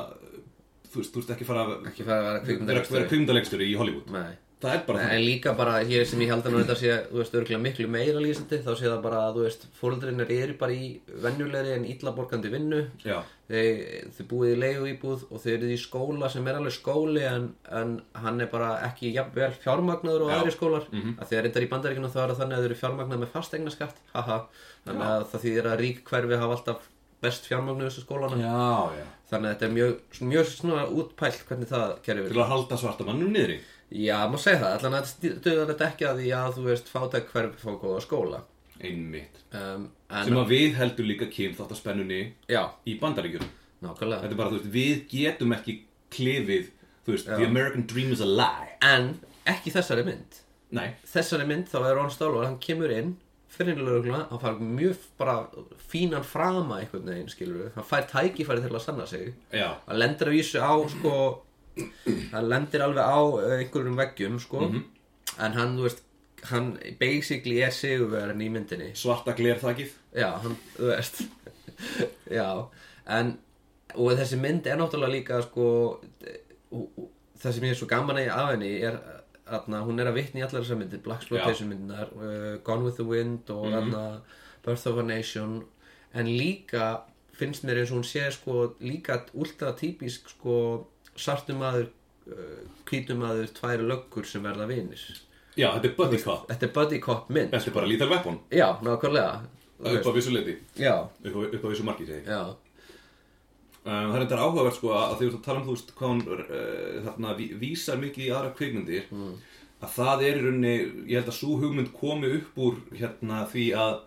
Speaker 1: þú veist, þú ert ekki að fara að
Speaker 2: Ekki fara að vera
Speaker 1: vera, vera
Speaker 2: kvikmyndaleikstjóri.
Speaker 1: kvimdalegstur í Hollywood
Speaker 2: Nei.
Speaker 1: það er bara
Speaker 2: Nei, En líka bara hér sem ég held að nú þetta sé, þú veist, örgulega miklu meira lýsandi, þá sé það bara að, þú veist, fóreldrinir eru bara í venjulegri en illaborgandi vinnu,
Speaker 1: þannig já,
Speaker 2: þeir, þeir búið í leigu íbúð og þeir eru í skóla sem er alveg skóli en, en hann er bara ekki jafnvel fjármagnaður og
Speaker 1: Já. Mhm.
Speaker 2: aðri skólar mm -hmm. að þegar reyndar í bandaríkinu þá er það þannig að þeir eru fjármagnað með fastegnaskatt, haha þannig að það þýðir að rík hverfi hafa alltaf best fjármagnuðu þessu skólana
Speaker 1: já, já
Speaker 2: þannig að þetta er mjög, mjög svona útpælt hvernig það kerfi
Speaker 1: til að halda svarta mannum niðri
Speaker 2: Já, maður segja það, allan að þetta duðar þetta ekki að því að þú veist fátæk hverfi fá góða skóla
Speaker 1: einmitt
Speaker 2: um,
Speaker 1: sem
Speaker 2: en,
Speaker 1: að við heldur líka kynþáttaspennunni
Speaker 2: Já,
Speaker 1: í bandaríkjum
Speaker 2: nákvæmlega
Speaker 1: Þetta er bara, þú veist, við getum ekki klifið, þú veist, the American dream is a lie.
Speaker 2: En ekki þessari mynd
Speaker 1: Nei,
Speaker 2: Þessari mynd þá er Ron Stálvar, hann kemur inn fyrir lögregluna, hann fær mjög bara fínan frama einhvern veginn skilur hann fær tækifæri til að sanna sig
Speaker 1: já,
Speaker 2: hann lendir að vísu á sko, hann lendir alveg á eh, einhverjum veggjum sko en hann, þú veist, hann basically er sigurverðin í myndinni
Speaker 1: svarta glerþakið.
Speaker 2: Já, hann, þú veist Já, en og þessi mynd er náttúrulega líka sko, og- og- það sem ég er svo gaman að- af henni er aðna, hún er að vitna í allar þessar myndir Black Exploitation myndinar, uh, Gone with the Wind og
Speaker 1: Mhm.
Speaker 2: mm Birth of a Nation en líka finnst mér eins og hún sé sko líka ultra típisk sko sartumadur uh, hvítumadur, tværi löggur sem verða vinir
Speaker 1: Já, þetta er buddy cop.
Speaker 2: Þetta er buddy cop mynd
Speaker 1: Þetta er bara lethal weapon,
Speaker 2: Já, nákvæmlega Þú
Speaker 1: upp
Speaker 2: veist,
Speaker 1: á vissu leiti,
Speaker 2: Já,
Speaker 1: upp á, upp á vissu marki, segi ég.
Speaker 2: já
Speaker 1: Um, það er þetta áhugavert, sko, að því þú ert að tala um, þú veist, hvað hún, uh, þarna, ví- vísar mikið í aðra kveikmyndir,
Speaker 2: Mm.
Speaker 1: að það er í rauninni, ég held að svo hugmynd komi upp úr, hérna, því að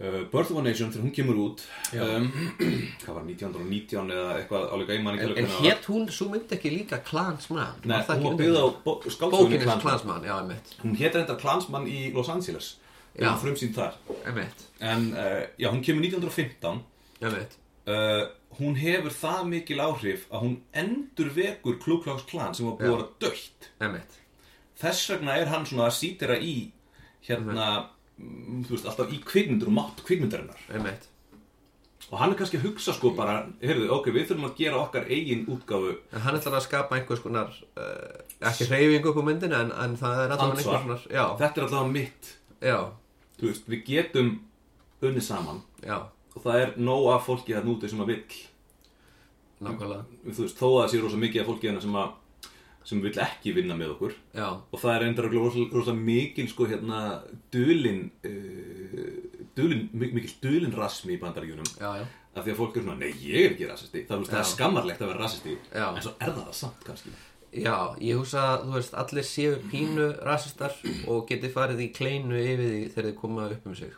Speaker 1: uh, Birth of a Nation, þegar hún kemur út, um, hvað var, 1919 eða eitthvað, álega einmann ekki
Speaker 2: En,
Speaker 1: alveg
Speaker 2: en
Speaker 1: hvenær það var.
Speaker 2: hér hún, svo myndi ekki líka Klansmann
Speaker 1: Nei,
Speaker 2: það
Speaker 1: hún var
Speaker 2: ekki
Speaker 1: byggð á
Speaker 2: undir-
Speaker 1: bó- skáldsögunni
Speaker 2: Bókinni hans
Speaker 1: Klansmann.
Speaker 2: Klansmann, já, emitt
Speaker 1: Hún hétt reyndar Klansmann í Los Angeles
Speaker 2: Já.
Speaker 1: Já Frumsýnd þar
Speaker 2: Emitt,
Speaker 1: En uh, já, hún kemur 1915
Speaker 2: emitt
Speaker 1: uh, Hún hefur það mikil áhrif að hún endur vekur Klúkláks klan sem var búið að vera dögt
Speaker 2: Emitt,
Speaker 1: Þess vegna er hann svona að sýtira í hérna, mm, þú veist, alltaf í kvikmyndur og mátt kvikmyndarinnar
Speaker 2: emitt
Speaker 1: Og hann er kannski að hugsa sko bara, heyrðu, ok, við þurfum að gera okkar eigin útgáfu
Speaker 2: En hann ætlar að skapa einhvers konar uh, Ekki hreyfingu upp á myndinu En, en það er alltaf
Speaker 1: Ansvar.
Speaker 2: einhvers konar Já,
Speaker 1: Þetta er allavega mitt,
Speaker 2: já,
Speaker 1: þú veist, við getum unni saman
Speaker 2: já,
Speaker 1: og það er nóg af fólki þarna úti sem að vill
Speaker 2: nákvæmlega
Speaker 1: þú veist, þó að það sé rosa mikið af fólki hérna sem að sem vill ekki vinna með okkur
Speaker 2: Já,
Speaker 1: og það er endur að rosa, rosa mikil sko hérna dulin uh, dulin, mik mikil dulin rasmi í bandaríunum
Speaker 2: já, já
Speaker 1: af því að fólk er svona, nei ég er ekki rasisti það, þú veist, það er
Speaker 2: Já.
Speaker 1: skammarlegt að vera rasisti
Speaker 2: Já.
Speaker 1: en svo er það það samt kannski
Speaker 2: Já, ég hugsa að, þú veist, allir séu pínu rasistar og geti farið í kleinu yfir því þegar þið koma upp um sig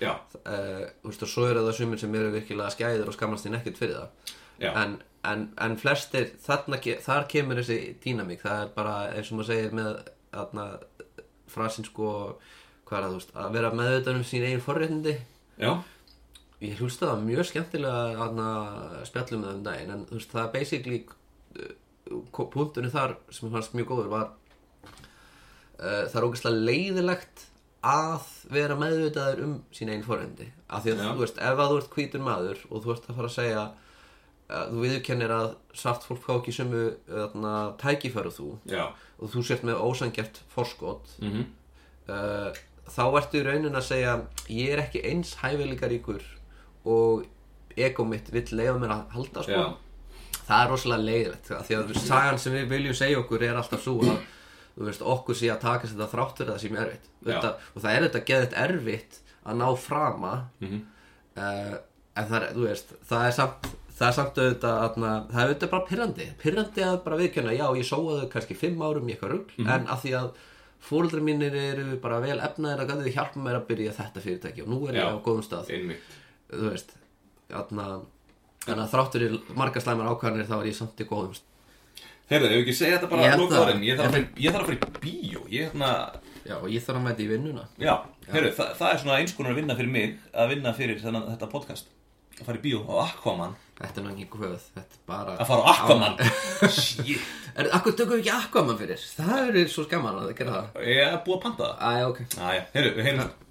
Speaker 1: já,
Speaker 2: uh, þú veist, og svo eru það sumir sem eru virkilega skæðir og skammast þín ekkert fyrir
Speaker 1: Já.
Speaker 2: það en, en, en flestir þarna, ke- þar kemur þessi dýnamík það er bara eins og maður segir með þarna, frasin sko hvað er það, þú veist, að vera meðvitað um sín eigin forréttindi
Speaker 1: já,
Speaker 2: ég hlusta það mjög skemmtilega þarna spjallum með um daginn en þú veist, það er basically punktunni þar sem ég fannst mjög góður var uh, það er ógeðslega leiðilegt að vera meðvitaður um sín einn fórendi af því að
Speaker 1: Já.
Speaker 2: þú veist, ef að þú ert hvítur maður og þú ert að fara að segja uh, þú viðurkennir að svart fólk fá ekki sömu eh, þarna, tækifæru þú
Speaker 1: já,
Speaker 2: og þú sért með ósangjart forskot mm -hmm. þá ertu í raunin að segja ég er ekki eins hæfileika ríkur og ego mitt vill leiða mér að halda sko.
Speaker 1: Já.
Speaker 2: það er rosalega leiðilegt af því að sagan sem við viljum segja okkur er alltaf svo að þú veist, okkur sé að takast þetta þráttur það sem er erfitt
Speaker 1: Já.
Speaker 2: þetta, og það er þetta geðið erfitt að ná frama
Speaker 1: Mhm.
Speaker 2: -hmm. en það er, þú veist, það er samt það er samt auðvitað, atna, það er auðvitað bara pyrrandi pyrrandi að bara viðkjöna, já, ég sóaðu kannski fimm árum í eitthvað rugl,
Speaker 1: Mhm.
Speaker 2: en að því að fóreldrar mínir eru bara vel efnaðir að gæti þið hjálpa mér að byrja þetta fyrirtæki og nú er
Speaker 1: Já.
Speaker 2: ég á góðum stað
Speaker 1: einmitt
Speaker 2: þú veist atna, þannig að þráttur í margar slæmar ákvarðanir þá er ég samt í góðum stað
Speaker 1: heyrðu, ef ekki segja þetta bara
Speaker 2: Ég
Speaker 1: að
Speaker 2: held
Speaker 1: loka
Speaker 2: það.
Speaker 1: orðin ég þarf að fara í- ég þarf að fara í bíó ég hérna,
Speaker 2: já, og ég þarf að mæta í vinnuna
Speaker 1: já, heyrðu, það, það er svona eins konar vinna fyrir mig að vinna fyrir þennan, þetta podcast að fara í bíó á Aquaman
Speaker 2: Þetta er náttúrulega ekki höfð, þetta er bara
Speaker 1: að fara á Aquaman shit
Speaker 2: Er, akkur tökum við ekki Aquaman fyrir? Það er svo skaman að það gera það
Speaker 1: ég er búið að panta það
Speaker 2: Æ, ok
Speaker 1: aðja, heyrðu, við heyrum